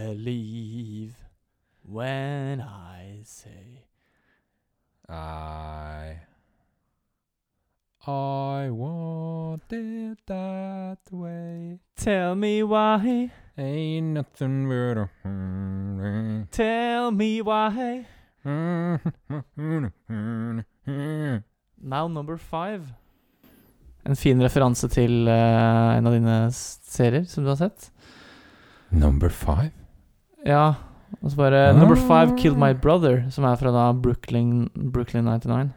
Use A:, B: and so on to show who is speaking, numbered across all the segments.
A: believe when I say
B: I I want it that way.
A: Tell me why,
B: Ain't nothing but a feeling.
A: tell me why. Now number five. En fin referanse til eh, en av dine s- serier som du har sett.
B: Number five?
A: Ja, og så bare Number five, Killed My
B: Ah.
A: Brother, som er fra da Brooklyn, Brooklyn 99.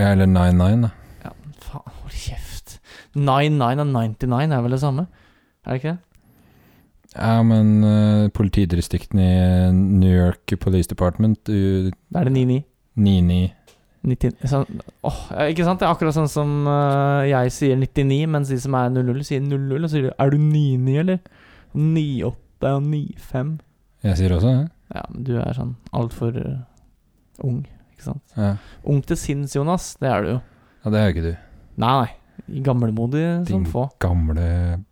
B: Ja, Eller 99, da.
A: Faen, hold kjeft. 99 og 99 er vel det samme? Er det ikke det?
B: Ja, men eh, politidistrikten i New York Police Department, uh,
A: Da er det 99.
B: 99
A: 90, sånn, åh, eh, ikke sant? Det er akkurat sånn som eh, jeg sier 99, mens de som er 00, sier 00. Og så sier de 'er du 99', eller? 98 og 95.
B: Jeg sier også det.
A: Ja, men du er sånn altfor uh, ung, ikke sant?
B: Ja.
A: Ung til sinns, Jonas. Det er du jo.
B: ja, det er jo ikke du.
A: Nei, nei. Gamlemodig som
B: Din
A: få.
B: Gamle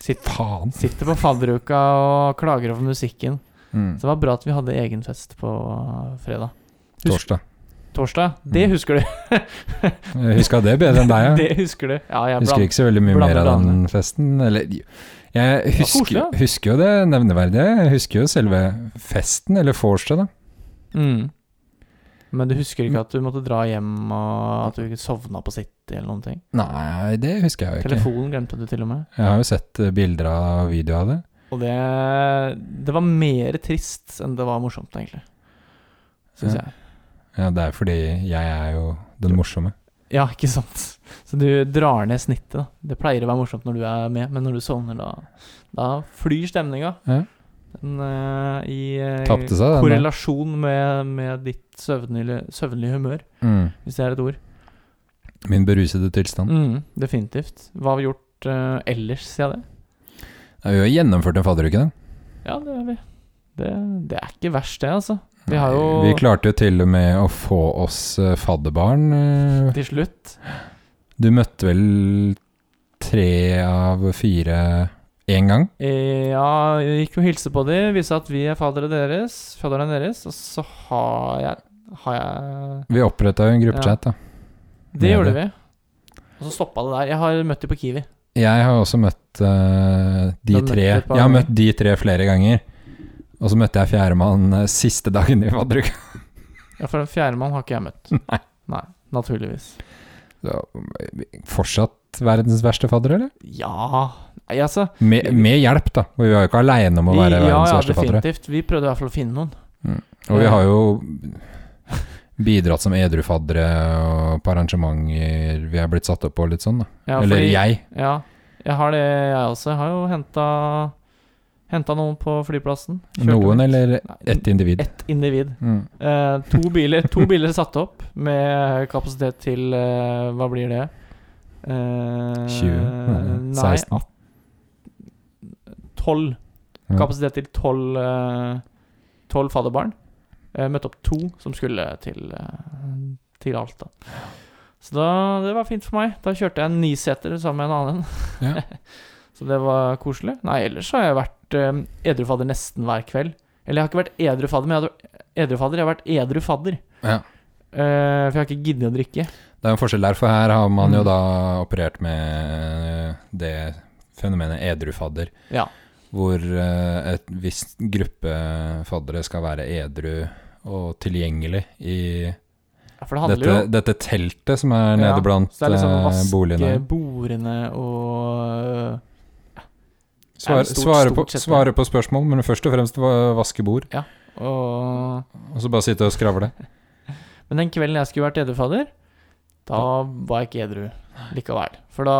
A: Sitt,
B: faen.
A: sitter på fadderuka og klager over musikken.
B: Mm.
A: Så det var bra at vi hadde egen fest på eh, fredag. Husk,
B: Torsdag.
A: torsdag? Det
B: Mm.
A: husker du.
B: Jeg huska det bedre enn deg, ja.
A: det husker du. Ja, jeg
B: Husker
A: blant-
B: ikke så veldig mye mer
A: blander
B: av den festen. Eller jo. Jeg
A: koselig,
B: husker,
A: da.
B: husker jo det nevneverdige. Jeg husker jo selve festen, eller vorset, da.
A: Mm. Men du husker ikke at du måtte dra hjem, og at du ikke sovna på City eller noen ting?
B: Nei, det husker jeg jo ikke.
A: Telefonen glemte du til og med.
B: Jeg har jo sett eh, bilder av video av det.
A: Og det Det var mer trist enn det var morsomt, egentlig. Syns
B: Ja.
A: jeg.
B: Ja, det er fordi jeg er jo den morsomme.
A: Ja, ikke sant? Så du drar ned snittet, da. Det pleier å være morsomt når du er med, men når du sovner, da, da flyr stemninga.
B: Ja.
A: Den, eh, I eh,
B: Tapte seg, den da.
A: korrelasjon med, med ditt søvnlige, søvnlige humør,
B: Mm.
A: hvis det er et ord.
B: Min berusede tilstand.
A: Mm, definitivt. Hva har vi gjort eh, ellers, sier jeg det?
B: Ja, vi har gjennomført en fadderuke, da.
A: Ja, det er vi. Det, det er ikke verst, det, altså. Vi har jo
B: Vi klarte jo til og med å få oss eh, fadderbarn. eh.
A: til slutt
B: Du møtte vel tre av fire én gang?
A: eh, Ja, jeg gikk og hilste på dem, viste at vi er faddere deres, fadderne deres, og så har jeg Har jeg
B: Vi oppretta jo en gruppechat, da.
A: Det
B: Ja,
A: gjorde
B: det.
A: vi. Og så stoppa det der. Jeg har møtt dem på Kiwi.
B: Jeg har også møtt eh,
A: Du
B: de
A: har møtt
B: tre.
A: et par
B: Jeg har
A: ganger.
B: møtt de tre flere ganger. Og så møtte jeg fjerdemann eh, siste dagen i fadderuka.
A: Ja, for den fjerde mann har ikke jeg møtt.
B: Nei.
A: Nei, naturligvis.
B: Så, eh, Fortsatt verdens verste fadder, eller?
A: Ja Nei, altså
B: Med, med hjelp, da. Og vi var jo ikke aleine om å
A: vi,
B: være
A: Ja,
B: verdens
A: ja,
B: verste faddere.
A: definitivt. Vi prøvde i hvert fall å finne noen.
B: Og vi har jo bidratt som edrufaddere og på arrangementer vi er blitt satt opp på, litt sånn, da.
A: Ja,
B: Eller
A: fordi-
B: jeg.
A: Ja, jeg har det jeg også. Jeg har jo henta Henta noen på flyplassen. Kjørte
B: Noen
A: rundt.
B: eller
A: Nei,
B: ett individ.
A: ett individ.
B: Mm.
A: Eh, to, biler, to biler satt opp med kapasitet til eh, Hva blir det? Eh,
B: 20? Nei,
A: Nei,
B: 16.
A: 18, 12.
B: Ja.
A: Kapasitet til 12, eh, 12 fadderbarn. Eh, møtte opp to som skulle til, eh, til Alta. Så da, det var fint for meg. Da kjørte jeg en niseter sammen med en annen.
B: Ja.
A: Så det var koselig. Nei, ellers har jeg vært eh, edru fadder nesten hver kveld. Eller jeg har ikke vært edru fadder, men jeg har, vært- edru fadder, jeg har vært edru fadder.
B: Ja.
A: Eh, for jeg har ikke giddet å drikke.
B: Det er en forskjell der, for her har man jo
A: Mm.
B: da operert med eh, det fenomenet edrufadder,
A: Ja.
B: hvor eh, et visst gruppe faddere skal være edru og tilgjengelig i
A: For det handler
B: dette,
A: jo
B: dette teltet som
A: Ja,
B: er nede blant
A: Så det er liksom å
B: eh, boligene.
A: vaske bordene og
B: Svar,
A: er stort-
B: svare,
A: stort
B: på,
A: sett, ja.
B: svare på spørsmål, men først og fremst va- vaske bord,
A: Og
B: og så bare sitte og skravle.
A: Men den kvelden jeg skulle vært edrufader, da var jeg ikke edru likevel. For da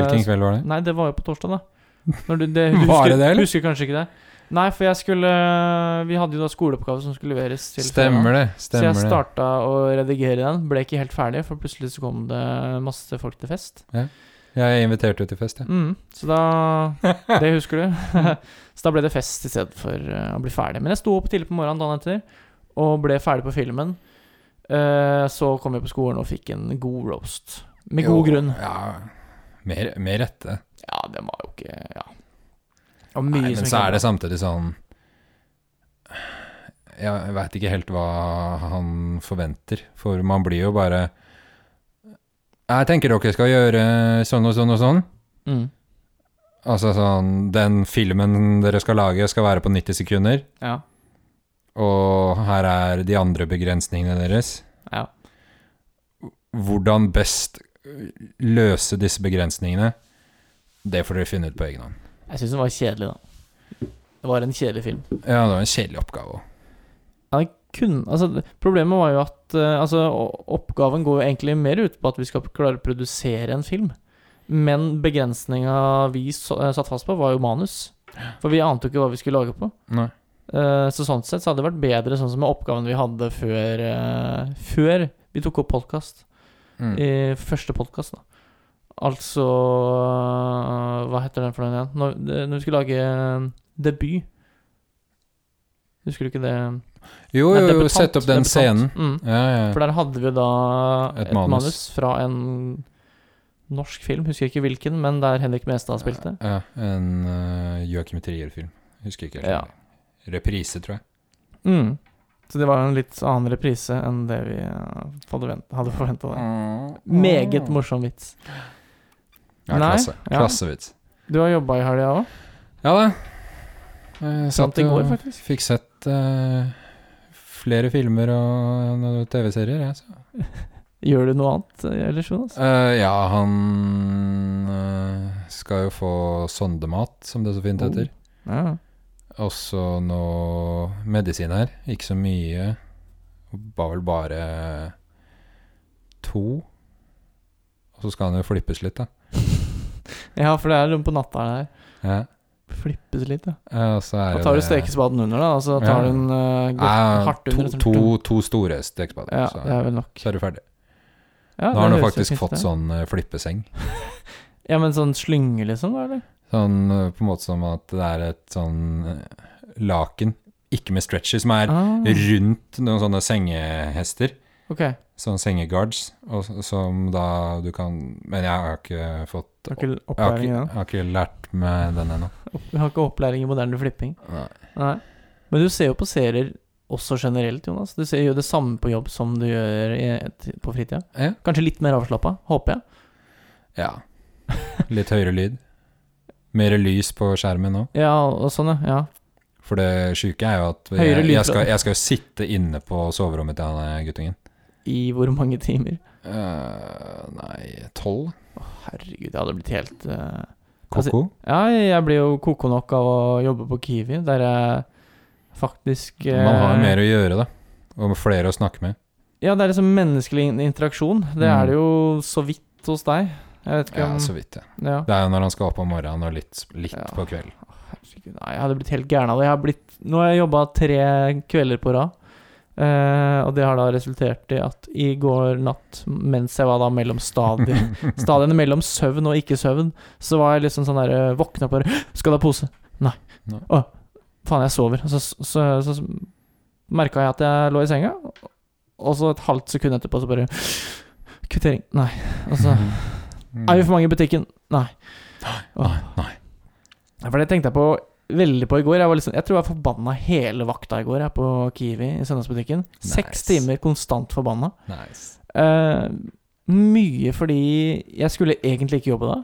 B: Hvilken kveld var det?
A: Nei, det var jo på torsdag, da. Når du, det, du
B: Var
A: husker,
B: det det, eller?
A: Husker kanskje ikke det. Nei, for jeg skulle Vi hadde jo da skoleoppgave som skulle leveres til fredag.
B: Stemmer det.
A: Så jeg
B: Stemmer det.
A: starta å redigere den. Ble ikke helt ferdig, for plutselig så kom det masse folk til fest.
B: Jeg inviterte jo til fest, jeg.
A: Mm, så da Det husker du. så da ble det fest i stedet for eh, å bli ferdig. Men jeg sto opp tidlig på morgenen dagen etter og ble ferdig på filmen. Eh, så kom jeg på skolen og fikk en god roast. Med god
B: Jo,
A: grunn.
B: Ja, med, med rette.
A: Ja, den var jo ikke Ja. Og mye
B: Nei, men
A: som
B: så
A: ikke
B: er det samtidig sånn Jeg veit ikke helt hva han forventer, for man blir jo bare Jeg tenker dere skal gjøre sånn og sånn og sånn.
A: Mm.
B: Altså sånn Den filmen dere skal lage, skal være på 90 sekunder.
A: Ja.
B: Og her er de andre begrensningene deres.
A: Ja.
B: Hvordan best løse disse begrensningene, det får dere finne ut på egen hånd.
A: Jeg syns den var kjedelig, da. Det var en kjedelig film.
B: Ja, det var en kjedelig oppgave òg.
A: Kun, altså, det- problemet var jo at eh, altså, o- oppgaven går jo egentlig mer ut på at vi skal klare å produsere en film. Men begrensninga vi så, eh, satt fast på, var jo manus. For vi ante jo ikke hva vi skulle lage på.
B: Nei.
A: Eh, så sånn sett så hadde det vært bedre sånn som med oppgaven vi hadde før, eh, før vi tok opp podkast.
B: Mm.
A: I første podkast, da. Altså eh, Hva heter den for noe igjen? Når, det- når vi skulle lage eh, debut. Husker du ikke det?
B: Jo,
A: Nei,
B: jo, jo,
A: debutant,
B: sett opp den
A: debutant.
B: scenen.
A: Mm.
B: Ja, ja.
A: For der hadde vi da et,
B: Et
A: manus.
B: manus.
A: fra en norsk film, husker jeg ikke hvilken, men der Henrik Mestad spilte.
B: Ja, en uh, Joakim Trier-film. Husker ikke helt.
A: Ja.
B: Reprise, tror jeg.
A: Mm. Så det var jo en litt annen reprise enn det vi eh, hadde vent- hadde forventa. Meget
B: Mm.
A: morsom vits.
B: Ja,
A: Nei,
B: klasse.
A: ja.
B: Klassevits.
A: Du har jobba i helga òg?
B: Ja da. Jeg
A: Sant
B: satt
A: i går,
B: og
A: faktisk.
B: fikk sett eh, flere filmer og noen TV-serier, jeg. Så.
A: Gjør du noe annet eh, ellers, Jonas?
B: Eh, ja, han eh, skal jo få sondemat, som det så fint
A: Oh.
B: heter.
A: Ja.
B: Også noe medisin her. Ikke så mye. Var vel bare to. Og så skal han jo flippes litt, da.
A: ja, for det er noe på natta her.
B: Ja.
A: Flippes litt, ja.
B: Ja, og så er
A: Da
B: jo
A: tar du
B: det-
A: stekespaden under, da, og så tar
B: Ja.
A: du en eh, godt
B: Ja,
A: hardt under.
B: to,
A: sånn-
B: to, to store stekespader.
A: Ja,
B: så,
A: det er vel nok.
B: så er du ferdig.
A: Ja,
B: Nå har
A: det
B: han jo
A: høres jo
B: faktisk
A: fint
B: fått
A: ut.
B: sånn eh, flippeseng.
A: Ja, men sånn slynge, liksom? da, Eller?
B: Sånn eh, på en måte som at det er et sånn eh, laken, ikke med stretcher, som er
A: Ah,
B: rundt noen sånne sengehester.
A: ok.
B: Sånne Sånn sengeguards, og, s- som da du kan Men jeg har ikke fått
A: Har
B: jeg
A: ikke
B: har
A: opplæring i
B: ikke, jeg
A: den?
B: har ikke lært meg den ennå.
A: Opp- Vi har ikke opplæring i moderne flipping. Nei. Men du ser jo på serier også generelt, Jonas. Du ser, gjør det samme på jobb som du gjør i, et- på fritida.
B: Ja.
A: Kanskje litt mer avslappa, håper jeg.
B: ja. Litt høyere lyd. Mer lys på skjermen nå.
A: Ja, og sånn, ja. ja.
B: For det sjuke er jo at
A: Høyere
B: jeg,
A: lyd
B: jeg, skal,
A: fra-
B: jeg skal jo sitte inne på soverommet til han eh, guttungen.
A: I hvor mange timer?
B: Eh, nei, tolv?
A: Herregud, jeg hadde blitt helt eh, Altså-
B: Koko?
A: Ja, jeg blir jo koko nok av å jobbe på Kiwi, der jeg faktisk eh,
B: Man har jo mer å gjøre, da. Og flere å snakke med.
A: Ja, det er liksom menneskelig in- interaksjon. Det
B: Mm.
A: er det jo så vidt hos deg. Jeg vet ikke
B: Ja,
A: om
B: så vidt, ja.
A: ja.
B: Det er jo når han skal opp om morgenen og litt, litt
A: Ja.
B: på kvelden.
A: Herregud, nei, jeg hadde blitt helt gæren av det. Jeg har blitt, nå har jeg jobba tre kvelder på rad. eh, og det har da resultert i at i går natt, mens jeg var da mellom stadier Stadiene mellom søvn og ikke-søvn, så var jeg liksom sånn der eh, Våkna på det Skal du ha pose? Nei.
B: Nei.
A: Å, faen, jeg sover. Og Så, så, så, så, merka jeg at jeg lå i senga, og så et halvt sekund etterpå så bare Kvittering. Nei. Og så Altså, er vi for mange i butikken? Nei. Åh.
B: Mm. nei.
A: Ja, For det tenkte jeg på veldig på i går. Jeg, var liksom, jeg tror jeg forbanna hele vakta i går jeg, på Kiwi i søndagsbutikken. Seks
B: Nice.
A: timer konstant forbanna.
B: Nice.
A: Eh, mye fordi jeg skulle egentlig ikke jobbe da.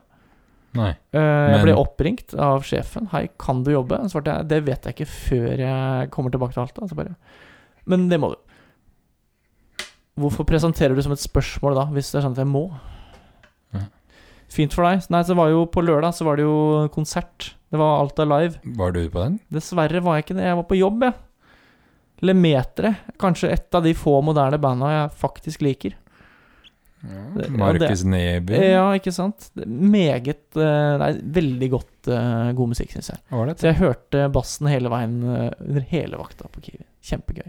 B: Nei.
A: Eh, jeg
B: Men-
A: ble oppringt av sjefen. 'Hei, kan du jobbe?' Så svarte jeg 'Det vet jeg ikke før jeg kommer tilbake til Alta'. Så bare, Men det må du. Hvorfor presenterer du som et spørsmål da, hvis det er sånn at jeg må?
B: Ja.
A: Fint for deg. Nei, så var jo på lørdag så var det jo konsert. Det var Alta Live.
B: Var du på den?
A: Dessverre var jeg ikke det. Jeg var på jobb, jeg. Lemetere. Kanskje et av de få moderne banda jeg faktisk liker. Det- ja,
B: Markus Neby?
A: Ja, ikke sant? Det er Meget eh, Nei, veldig godt eh, god musikk, syns jeg.
B: Var det?
A: Så jeg hørte bassen hele veien eh, under hele vakta på Kiwi. Kjempegøy.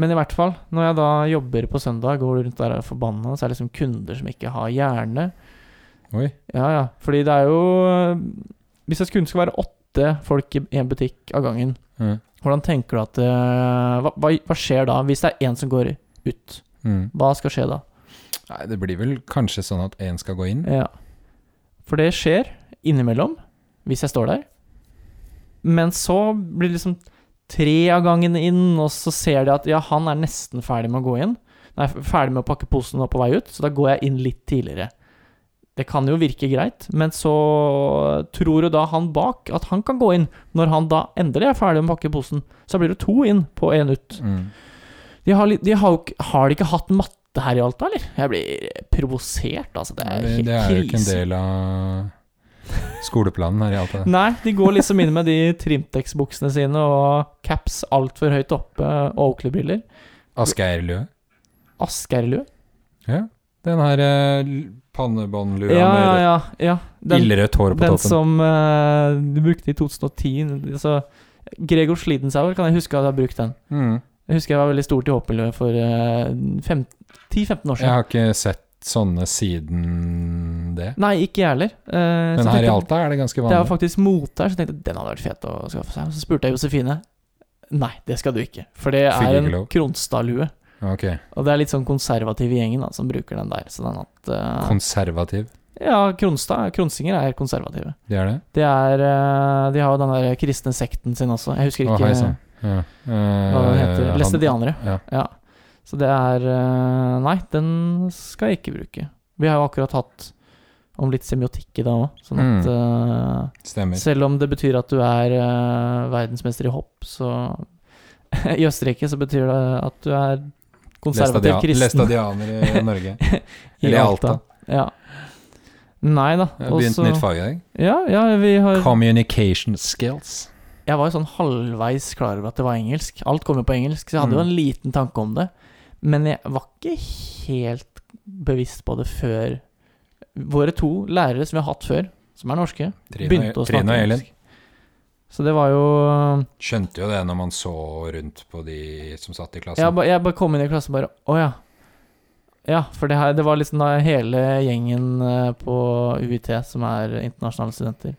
A: Men i hvert fall, når jeg da jobber på søndag, går rundt der og er forbanna, så er det liksom kunder som ikke har hjerne.
B: Oi.
A: Ja, ja. Fordi det er jo eh, Hvis det kun skal være åtte folk i en butikk av gangen,
B: Ja.
A: hvordan tenker du at eh, hva, hva, hva skjer da, hvis det er én som går ut?
B: Mm.
A: Hva skal skje da?
B: Nei, det blir vel kanskje sånn at én skal gå inn?
A: Ja. For det skjer innimellom, hvis jeg står der. Men så blir det liksom tre av gangen inn, og så ser de at ja, han er nesten ferdig med å gå inn. Nei, f- ferdig med å pakke posen og på vei ut, så da går jeg inn litt tidligere. Det kan jo virke greit, men så tror jo da han bak at han kan gå inn. Når han da endelig er ferdig med å pakke posen, så blir det to inn på én ut.
B: Mm.
A: De har, li- de har, jo ikke- har de ikke hatt matte her i Alta, eller? Jeg blir provosert, altså. Det er
B: Nei,
A: helt
B: det er jo ikke en
A: krise.
B: del av skoleplanen her i Alta.
A: Nei, de går liksom inn med de Trimtex-buksene sine og caps altfor høyt oppe eh, og Oakley-briller.
B: Asgeir-lue.
A: Asgeir-lue.
B: Ja. Den her eh, l- pannebåndlua
A: Ja, ja,
B: med
A: ja, ja. Den,
B: ildrødt hår på
A: den
B: toppen.
A: som eh, de brukte i 2010. Altså, Gregor Slidensauer kan jeg huske at jeg har brukt den.
B: Mm.
A: Jeg husker jeg var veldig stort i hoppmiljøet for eh, fem- 10-15 år
B: Jeg
A: siden.
B: har ikke sett sånne siden det.
A: Nei, ikke jeg heller. Eh, så
B: Men her i
A: tenkte-
B: Alta er det ganske
A: Det er jo
B: vanlig.
A: faktisk mote her, så jeg tenkte den hadde vært fet å skaffe seg. Og så spurte jeg Josefine. Nei, det skal du ikke. For det
B: Fikk
A: er
B: ikke
A: en
B: lov.
A: Kronstad-lue.
B: Ok,
A: Og det er litt sånn konservativ i gjengen da, som bruker den der. Så den at eh,
B: Konservativ,
A: Ja, Kronstad, Kronsinger er konservative.
B: det er det?
A: Det er eh, De har jo den der kristne sekten sin også. Jeg husker
B: Å,
A: ikke
B: hei sann. Ja.
A: hva den heter.
B: Eh,
A: Læstedianere.
B: ja.
A: ja. Så det er eh, Nei, den skal jeg ikke bruke. Vi har jo akkurat hatt om litt semiotikk i dag òg, sånn
B: Mm.
A: at eh,
B: Stemmer.
A: Selv om det betyr at du er eh, verdensmester i hopp, så I Østerrike så betyr det at du er konservativ
B: Læstadia-
A: kristen
B: Læstadianer i Norge.
A: i
B: eller i
A: Alta. Ja. Nei da.
B: Jeg har begynt
A: og så-
B: nytt fag i dag.
A: Ja, ja, vi har
B: Communication skills.
A: Jeg var jo sånn halvveis klar over at det var engelsk. Alt kom jo på engelsk, så jeg hadde jo
B: Mm.
A: en liten tanke om det. Men jeg var ikke helt bevisst på det før våre to lærere som vi har hatt før, som er norske,
B: Trine,
A: begynte å
B: Trine
A: snakke
B: og Elin.
A: engelsk. Så det var jo
B: Skjønte jo det når man så rundt på de som satt i klassen.
A: Jeg, ba, jeg bare kom inn i klassen bare Å ja. Ja, for det, her, det var liksom da hele gjengen eh, på UiT som er internasjonale studenter.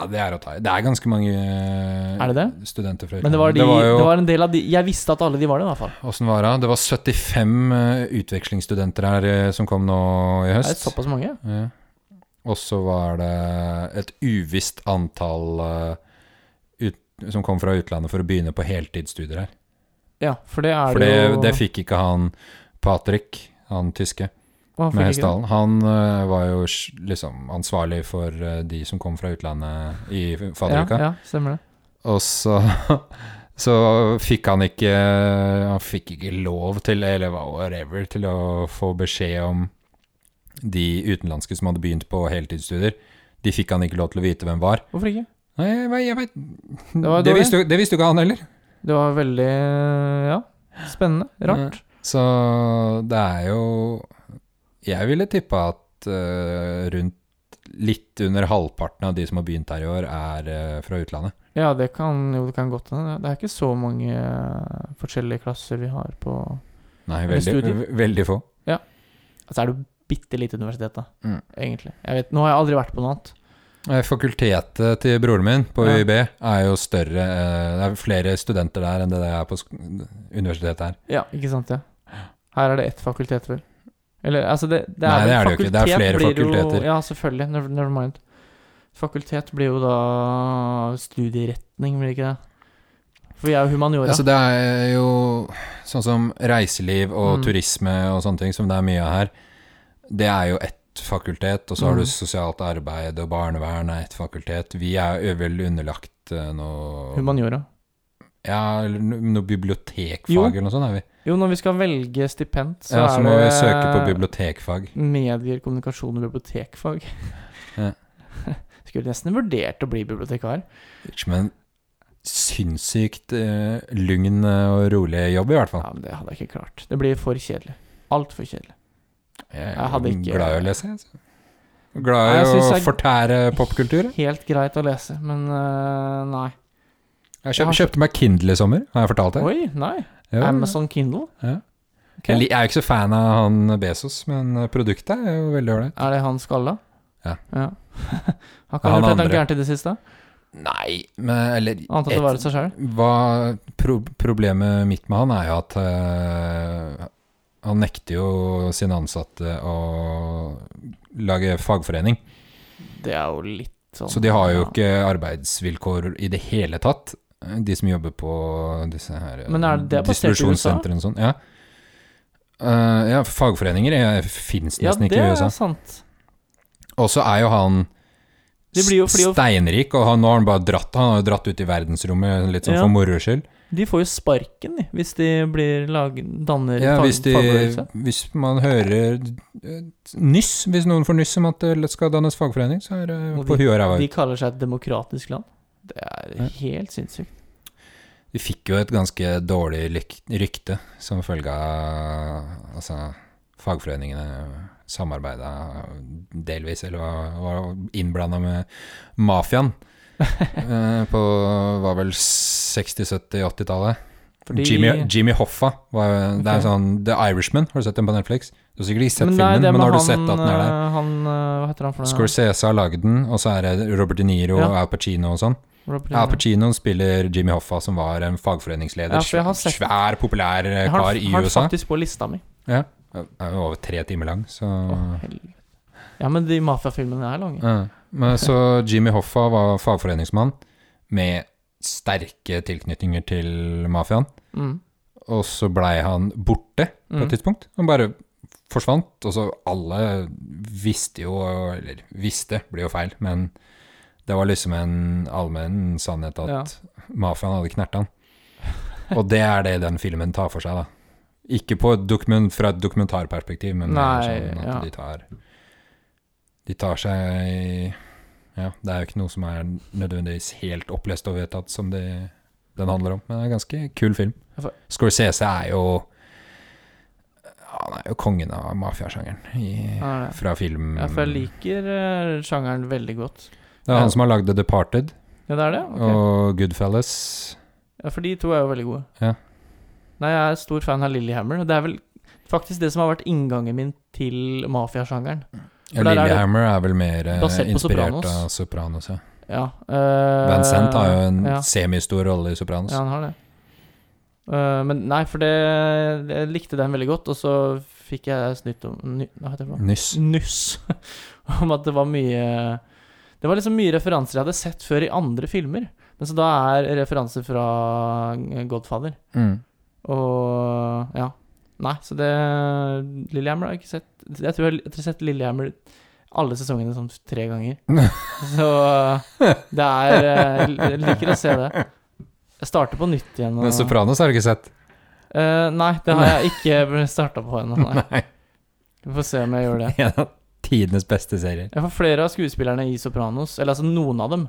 B: Ja, det er å ta i. Det er ganske mange eh,
A: Er det
B: studenter fra
A: Men det var, de, det, var
B: jo,
A: en del av de Jeg visste at alle de var det, i hvert fall.
B: Åssen var det? Det var 75 eh, utvekslingsstudenter her eh, som kom nå i
A: Det er
B: høst.
A: såpass mange.
B: Ja. Og så var det et uvisst antall eh, ut, som kom fra utlandet for å begynne på heltidsstudier her.
A: Ja, for det er
B: For det,
A: jo
B: det fikk ikke han Patrick, han tyske.
A: Å, han fikk
B: med
A: ikke det.
B: Hessdalen. Han eh, var jo sj- liksom ansvarlig for eh, de som kom fra utlandet i fadderuka.
A: Ja, ja, stemmer det.
B: Og så, så fikk han ikke Han fikk ikke lov til, eller whatever, til å få beskjed om de utenlandske som hadde begynt på heltidsstudier. De fikk han ikke lov til å vite hvem var.
A: Hvorfor ikke?
B: Nei, jeg, vet- jeg vet
A: var
B: det,
A: dårlig.
B: visste, jo- det visste jo ikke han heller.
A: Det var veldig Ja, spennende. Rart.
B: Så det er jo Jeg ville tippa at eh, rundt litt under halvparten av de som har begynt her i år, er eh, fra utlandet.
A: Ja, det kan jo det kan godt hende. Det er ikke så mange eh, forskjellige klasser vi har på
B: Nei,
A: Eller
B: veldig,
A: studier.
B: ve- veldig få.
A: Altså er det jo bitte lite universitet, da.
B: Mm.
A: Egentlig. Jeg vet, nå har jeg aldri vært på noe annet.
B: Eh, Fakultetet til broren min på
A: Ja.
B: UiB er jo større eh, Det er flere studenter der enn det det er på sk- universitetet her.
A: Ja, ikke sant, ja. Her er det ett fakultet, vel. Eller, altså det, det er
B: Nei, det
A: vel
B: er det jo ikke. Det er
A: fakultet
B: flere
A: blir jo-
B: fakulteter.
A: Ja, selvfølgelig. Never, never mind. Fakultet blir jo da studieretning, blir det ikke det? For vi er jo humaniora.
B: Altså, det er jo sånn som reiseliv og
A: Mm.
B: turisme og sånne ting, som det er mye av her. Det er jo ett fakultet, og så har
A: Mm.
B: du sosialt arbeid og barnevern er ett fakultet. Vi er jo vel underlagt eh, noe
A: humaniora.
B: Ja, eller no- noe bibliotekfag
A: Jo.
B: eller noe sånt er vi.
A: Jo, når vi skal velge stipend, så,
B: ja, så
A: er
B: må
A: det
B: vi søke på bibliotekfag.
A: medier, kommunikasjon og bibliotekfag.
B: Ja.
A: Skulle nesten vurdert å bli bibliotekar.
B: Som en sinnssykt eh, lugn og rolig jobb, i hvert fall.
A: Ja, men det hadde jeg ikke klart. Det blir for kjedelig. Altfor kjedelig.
B: Jeg
A: Jeg
B: er
A: hadde ikke-
B: glad i å lese. jeg, altså.
A: Nei,
B: Glad
A: jeg
B: i å
A: synes jeg-
B: fortære popkultur. jeg.
A: Helt greit å lese, men øh, nei. Jeg
B: Jeg kjøp,
A: har-
B: kjøpte meg Kindle i sommer, har jeg fortalt det?
A: Oi, nei.
B: Ja.
A: Amazon Kindle? Ok.
B: Jeg, li- jeg er jo ikke så fan av han Bezos, men eh, produktet er jo veldig ålreit.
A: Er det han skalla?
B: Ja.
A: Har
B: Ja,
A: ikke
B: han
A: han gjort noe
B: andre.
A: gærent i det siste?
B: Nei, men eller
A: Annet enn å være seg sjøl?
B: hva, pro Problemet mitt med han er jo at eh, han nekter jo sine ansatte å lage fagforening.
A: Det er jo litt sånn
B: Så de har jo
A: ja.
B: ikke arbeidsvilkår i det hele tatt. eh, De som jobber på disse her eh,
A: Men er det basert i USA?
B: distribusjonssentrene og sånn. Ja. Eh, ja, fagforeninger eh, fins
A: Ja,
B: nesten
A: det
B: ikke i
A: er
B: USA.
A: sant.
B: Og så er jo han
A: Det blir jo fordi jo-
B: steinrik, og han, nå har han bare dratt Han har jo dratt ut i verdensrommet litt sånn
A: Ja.
B: for moro skyld.
A: De får jo sparken, de, hvis de blir lag, danner
B: Ja,
A: fag-
B: hvis, de,
A: fagbevegelse.
B: hvis man hører eh, nyss Hvis noen får nyss om at det skal dannes fagforening, så er det
A: Og
B: på huet og ræva.
A: De kaller seg et demokratisk land. Det er
B: Ja.
A: helt sinnssykt.
B: De fikk jo et ganske dårlig lyk- rykte som følge av Altså, fagforeningene samarbeida delvis, eller var, var innblanda med mafiaen. eh, på var vel 60-, 70-, 80-tallet.
A: Fordi-
B: Jimmy, Jimmy Hoffa. Var, Det
A: Ok.
B: er sånn The Irishman, har du sett den på Netflix? Du har sikkert ikke sett
A: Men nei,
B: filmen,
A: det er
B: men
A: med
B: har du
A: han,
B: sett at den er der?
A: eh, han eh, Hva heter han for noe?
B: Scorsese har lagd den, og så er det Robert De Niro
A: Ja.
B: og Al Pacino og sånn.
A: Robert De
B: Al
A: Niro.
B: Pacino spiller Jimmy Hoffa, som var en fagforeningsleder.
A: Ja, for jeg har sett-
B: svær, populær eh,
A: Jeg har
B: kar
A: den-
B: i
A: har den
B: USA.
A: faktisk på lista mi.
B: Er jo Over tre timer lang, så
A: Å, helvete. Ja, men de mafiafilmene er lange.
B: Ah. ja. Men Så Jimmy Hoffa var fagforeningsmann med sterke tilknytninger til mafiaen.
A: Mm.
B: Og så blei han borte på
A: Mm.
B: et tidspunkt. Han bare forsvant, og så alle visste jo Eller visste blir jo feil, men det var liksom en allmenn sannhet at mafiaen hadde knerta han. Og det er det den filmen tar for seg, da. Ikke på et dokument, fra et dokumentarperspektiv, men det er
A: Nei,
B: sånn at
A: ja.
B: de tar De tar seg Ja, det er jo ikke noe som er nødvendigvis helt opplest og vedtatt som det, den handler om, men det er en ganske kul film. Scorsese er jo Han er jo kongen av mafiasjangeren i-
A: Ja, det er det.
B: fra film
A: Ja, for jeg liker eh, sjangeren veldig godt.
B: Det er han som har lagd The Departed
A: Ja, det er det? Ok.
B: og Goodfellas.
A: Ja, for de to er jo veldig gode.
B: Ja.
A: Nei, jeg er stor fan av Lillehammer. og Det er vel faktisk det som har vært inngangen min til mafiasjangeren.
B: Ja,
A: For der er det-
B: Lillehammer er vel mer eh,
A: Basert på
B: inspirert
A: Sopranos.
B: av Sopranos. Ja.
A: Ja. Uh,
B: Vincent har jo en
A: ja.
B: semistor rolle i Sopranos.
A: Ja, han har det. Eh, men nei, for det Jeg likte den veldig godt, og så fikk jeg snytt om ny, Hva heter det? for noe?
B: Nyss.
A: Nuss. om at det var mye Det var liksom mye referanser jeg hadde sett før i andre filmer. Men så da er referanser fra Godfather.
B: Mm.
A: Og ja. Nei, så det Lillehammer har jeg ikke sett Jeg tror jeg jeg har sett Lillehammer alle sesongene sånn tre ganger. Så det er eh, Jeg liker å se det. Jeg starter på nytt igjen. og-
B: Men Sopranos har du ikke sett?
A: Eh, nei, det har jeg ikke starta på ennå. Nei.
B: Nei.
A: Vi får se om jeg gjør det.
B: En av tidenes beste serier.
A: Ja, for flere av skuespillerne i Sopranos, eller altså noen av dem,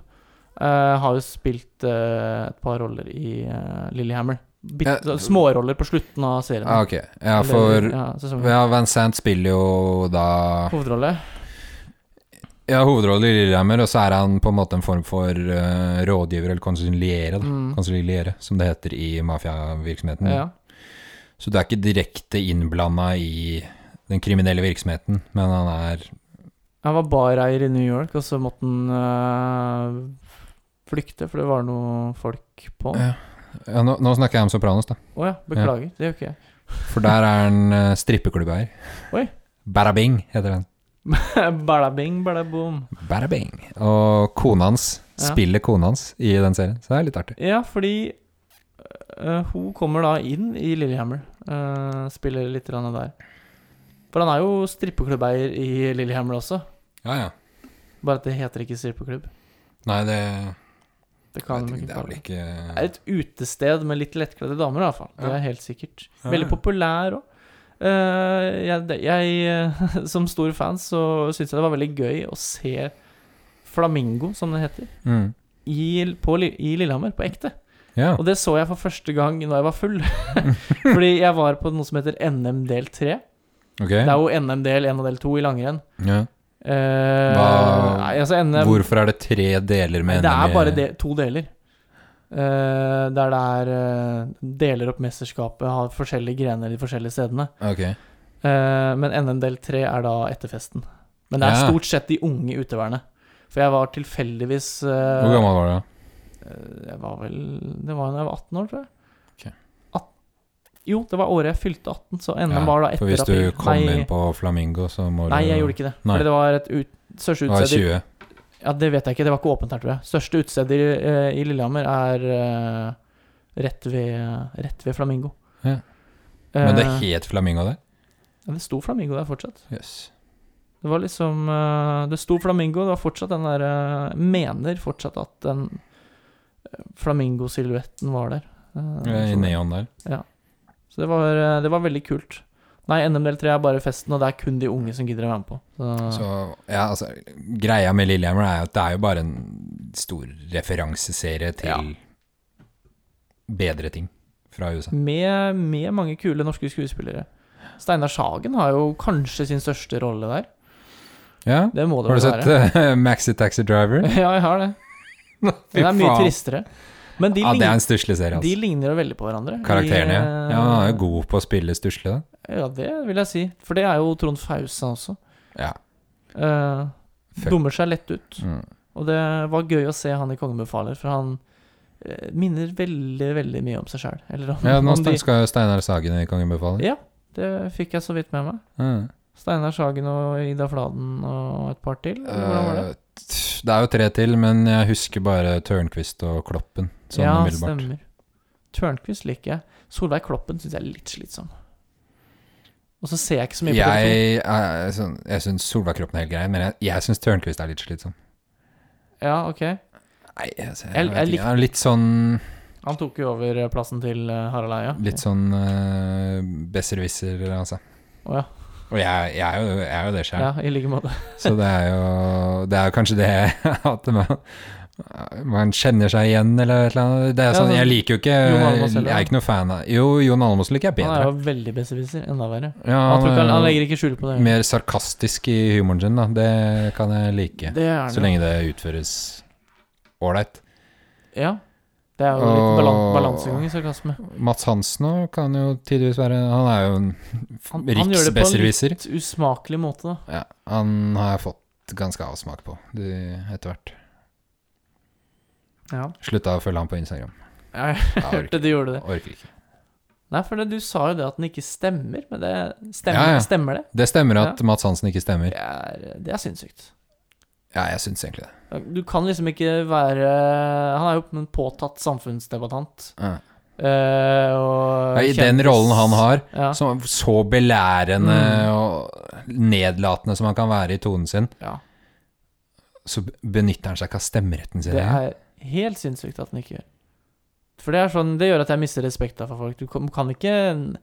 A: eh, har jo spilt eh, et par roller i eh, Lillehammer. Bitt,
B: Ja.
A: Småroller på slutten av serien.
B: Ah, ok. Ja,
A: Eller,
B: for
A: ja, sesongen.
B: ja, Vincent spiller jo da
A: Hovedrolle.
B: Ja, hovedrollen i Lillehammer, og så er han på en måte en form for eh, rådgiver, eller konsiliere, da.
A: Mm.
B: Konsiliere, som det heter i mafiavirksomheten.
A: Ja.
B: Så du er ikke direkte innblanda i den kriminelle virksomheten, men han er
A: Han var bareier i New York, og så måtte han eh, flykte, for det var noe folk på han.
B: Ja. ja, nå, nå snakker jeg om Sopranos, da.
A: Å ja, beklager. Det gjør ikke jeg.
B: For der er en uh, strippeklubb her.
A: Oi.
B: Barabing heter den.
A: Balabing, balaboom.
B: Barabing. Og kona hans
A: Ja.
B: spiller kona hans i den serien, så det er litt artig.
A: Ja, fordi øh, hun kommer da inn i Lillehammer. øh, spiller litt grann der. For han er jo strippeklubbeier i Lillehammer også.
B: Ja, ja.
A: Bare at det heter ikke strippeklubb.
B: Nei, det,
A: Det kan de
B: vet ikke,
A: ikke
B: det er
A: kalle
B: vel
A: det.
B: ikke
A: Det er et utested med litt lettkledde damer, i hvert fall. Det
B: Ja.
A: er helt sikkert.
B: Ja,
A: Veldig
B: ja.
A: populær òg. jeg, det- jeg som stor fan så syns jeg det var veldig gøy å se Flamingo, som det heter,
B: mm.
A: i, på, Li- i Lillehammer, på ekte.
B: Ja.
A: Og det så jeg for første gang når jeg var full. Fordi jeg var på noe som heter NM del 3.
B: Ok.
A: Det er jo NM del 1 og del 2 i langrenn.
B: Ja.
A: Eh,
B: Hva-
A: nei, altså NM,
B: Hvorfor er det tre deler med E?
A: Det
B: NM
A: er
B: i-
A: bare de, to deler. Eh, der det er eh, deler opp mesterskapet, har forskjellige grener i de forskjellige stedene.
B: Ok.
A: Eh, men NM del 3 er da etter festen. Men det er
B: Ja.
A: stort sett de unge utøverne. For jeg var tilfeldigvis eh,
B: Hvor gammel var du da?
A: Eh, Jeg var vel Det var da jeg var 18 år, tror jeg.
B: Ok.
A: At, jo, det var året jeg fylte 18, så NM
B: Ja,
A: E var da etter
B: For hvis du kom
A: nei,
B: inn på Flamingo, så må
A: nei,
B: du
A: jeg gjorde ikke det.
B: Nei.
A: Fordi det var et ut, største
B: Du var
A: utested i-
B: 20.
A: Ja, det vet jeg ikke. Det var ikke åpent her, tror jeg. Største utestedet i, eh, i Lillehammer er eh, rett, ved, rett ved Flamingo.
B: Ja. Men det
A: Eh,
B: het Flamingo der?
A: ja, det sto Flamingo der fortsatt.
B: Jøss.
A: Det var liksom eh, Det sto Flamingo, det var fortsatt den der eh, Mener fortsatt at den eh, flamingosilhuetten var der. Eh,
B: I
A: så-
B: neon der.
A: Så det var, eh, det var veldig kult. Nei, NM del 3 er bare festen, og det er kun de unge som gidder å være med på. Så,
B: Så ja, altså Greia med Lillehammer er at det er jo bare en stor referanseserie til
A: Ja.
B: bedre ting fra USA.
A: med, med mange kule norske skuespillere. Steinar Sagen har jo kanskje sin største rolle der.
B: Ja.
A: Det må det
B: Har
A: vel
B: du sett
A: være.
B: eh, Maxi Taxi Driver?
A: Ja, jeg har det.
B: Fy
A: Den er mye
B: faen.
A: tristere. Men de,
B: Ja, det er en
A: lign,
B: stusslig serie,
A: de
B: altså.
A: ligner jo veldig på hverandre.
B: Karakterene, ja.
A: De, eh,
B: Ja, han er jo god på å spille stusslig, da.
A: Ja, det vil jeg si. For det er jo Trond Fausa også.
B: Ja.
A: Eh,
B: Fuck.
A: dummer seg lett ut.
B: Mm.
A: Og det var gøy å se han i Kongebefaler, for han eh, minner veldig, veldig mye om seg sjøl. Eller om,
B: Ja, nå
A: om de
B: skal jo Steinar Sagen i Kongen befale.
A: Ja, det fikk jeg så vidt med meg.
B: Mm.
A: Steinar Sagen og Ida Fladen og et par til. Eller hvordan var det?
B: Eh, t- Det er jo tre til, men jeg husker bare Tørnquist og Kloppen. Sånn
A: ja,
B: umiddelbart.
A: stemmer. Tørnquist liker jeg. Solveig Kloppen syns jeg er litt slitsom. Og så ser jeg ikke så mye på TV2.
B: Jeg, er sånn, jeg syns Solveig Kloppen er helt grei, men jeg, jeg syns Tørnquist er litt slitsom.
A: Ja, ok.
B: Nei, altså, jeg,
A: Jeg-
B: vet
A: jeg
B: ikke. Han er litt sånn,
A: Han tok jo over eh, plassen til eh, Harald Eia.
B: litt sånn uh, besserwisser, altså.
A: Å ja.
B: Og jeg, jeg, er, jo, jeg er jo det sjøl,
A: ja. I like måte.
B: så det er jo Det er jo kanskje det at man, man kjenner seg igjen, eller et eller annet. Det er
A: Ja,
B: sånn,
A: sånn
B: jeg liker jo ikke
A: Jon Almaas heller,
B: Jeg er ikke noe fan av Jo, Jon Almaas liker jeg
A: Han er
B: bedre. eh,
A: jo veldig besserwisser. Enda verre.
B: Ja,
A: Han, tror ikke,
B: er
A: han,
B: jo
A: han legger ikke skjul på det.
B: mer sarkastisk i humoren sin, da. Det kan jeg like.
A: Det er han
B: Så
A: jo.
B: lenge det utføres ålreit.
A: Ja. Det er jo litt balan
B: Åh.
A: balansegang i sarkasme.
B: Mats Hansen òg kan jo tidvis være Han er jo
A: Han- han
B: en
A: gjør det på en
B: riksbesserwisser.
A: Litt usmakelig måte, da.
B: Ja, han har jeg fått ganske avsmak på de- etter hvert.
A: Ja.
B: Slutta å følge han på Instagram.
A: Jeg
B: Jeg orker,
A: hørte du gjorde det.
B: orker ikke.
A: Nei, for det, du sa jo det at den ikke stemmer, men det stemmer,
B: Ja, ja.
A: stemmer det?
B: Det stemmer at Mats Hansen ikke stemmer.
A: Det er, det er sinnssykt.
B: Ja, jeg syns egentlig det.
A: Du kan liksom ikke være Han er jo en påtatt samfunnsdebattant.
B: Ja.
A: eh, og
B: Ja, I den
A: kjendis.
B: rollen han har,
A: ja, Mm.
B: som er så belærende og nedlatende som han kan være i tonen sin,
A: ja,
B: så benytter han seg ikke av stemmeretten sin.
A: det er helt sinnssykt at den ikke gjør. For det er sånn Det gjør at jeg mister respekta for folk. Du kan kan ikke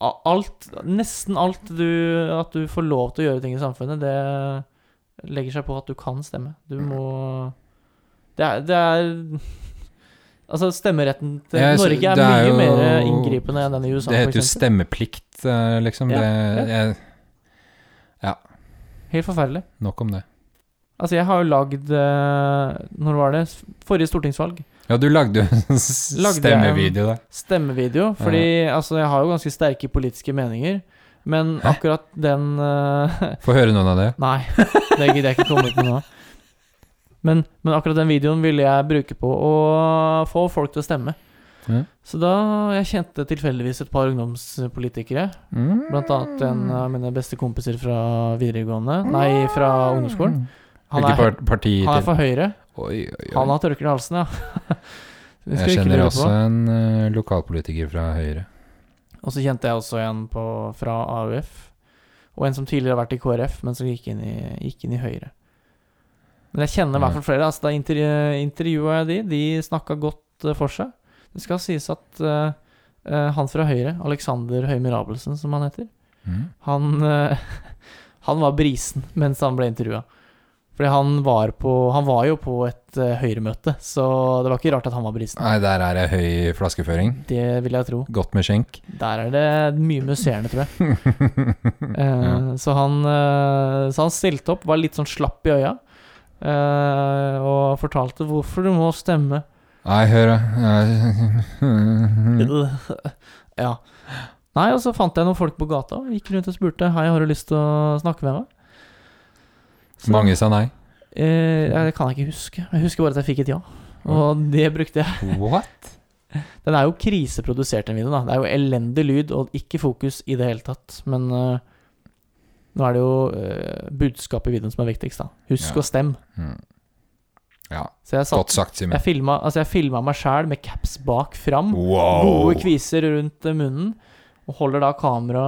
A: a- Alt Nesten alt du At du får lov til å gjøre ting i samfunnet, det legger seg på at du kan stemme. Du
B: Mm.
A: må Det er, det er Altså, stemmeretten til
B: Jeg sy-
A: Norge er,
B: det
A: mye
B: er jo-
A: mer inngripende enn den i USA,
B: Det heter jo
A: f.eks.
B: stemmeplikt, eh, liksom.
A: Ja, ja.
B: det, jeg,
A: Helt forferdelig.
B: nok om det.
A: Altså, jeg har jo lagd eh, Når var det? Forrige stortingsvalg.
B: Ja, du lagde jo en stemmevideo der.
A: Stemmevideo. Fordi altså, jeg har jo ganske sterke politiske meninger. Men
B: Hæ?
A: akkurat den eh,
B: Få høre noen av det.
A: Nei, det gidder jeg ikke komme på nå. Men, men akkurat den videoen ville jeg bruke på å få folk til å stemme.
B: Ja.
A: Så da Jeg kjente tilfeldigvis et par ungdomspolitikere.
B: Mm.
A: Blant annet en av mine beste kompiser fra videregående. Nei, fra ungdomsskolen. Han
B: Hvilket
A: er,
B: par parti
A: han er
B: til?
A: fra Høyre.
B: Oi, oi,
A: Han
B: oi.
A: har tørklær i halsen, ja. Det skulle
B: Jeg
A: ikke
B: kjenner
A: lure
B: også
A: på.
B: en eh, lokalpolitiker fra Høyre.
A: Og så kjente jeg også en på, fra AUF, og en som tidligere har vært i KrF, men som gikk inn i, gikk inn i Høyre. Men jeg kjenner i hvert fall flere. Altså, da intervju, intervjua jeg de, de snakka godt eh, for seg. Det skal sies at eh, eh, han fra Høyre, Alexander Høie Abelsen, som han heter,
B: Mm.
A: han, eh, han var brisen mens han ble intervjua. Fordi han var, på, han var jo på et eh, Høyre-møte, så det var ikke rart at han var brisen.
B: Nei, der er det høy flaskeføring.
A: Det vil jeg tro.
B: Godt med skjenk.
A: Der er det mye musserende, tror jeg. Eh, så, han, eh, så han stilte opp, var litt sånn slapp i øya, eh, og fortalte hvorfor du må stemme.
B: Nei, hør da.
A: ja. Nei, og så fant jeg noen folk på gata, og gikk rundt og spurte Hei, har du lyst til å snakke med meg. Så,
B: Mange sa nei.
A: Eh, ja, det kan jeg ikke huske. Jeg husker bare at jeg fikk et ja. Og det brukte jeg.
B: What?
A: Den er jo kriseprodusert, den videoen. da Det er jo elendig lyd og ikke fokus i det hele tatt. Men eh, Nå er det jo eh, budskapet i videoen som er viktigst, da. Husk
B: Ja.
A: å stemme.
B: Mm. Ja,
A: Så jeg satt
B: godt sagt, Simen.
A: Jeg filma, altså jeg filma meg sjæl med caps bak fram.
B: Wow!
A: Gode kviser rundt eh, munnen. Og holder da kamera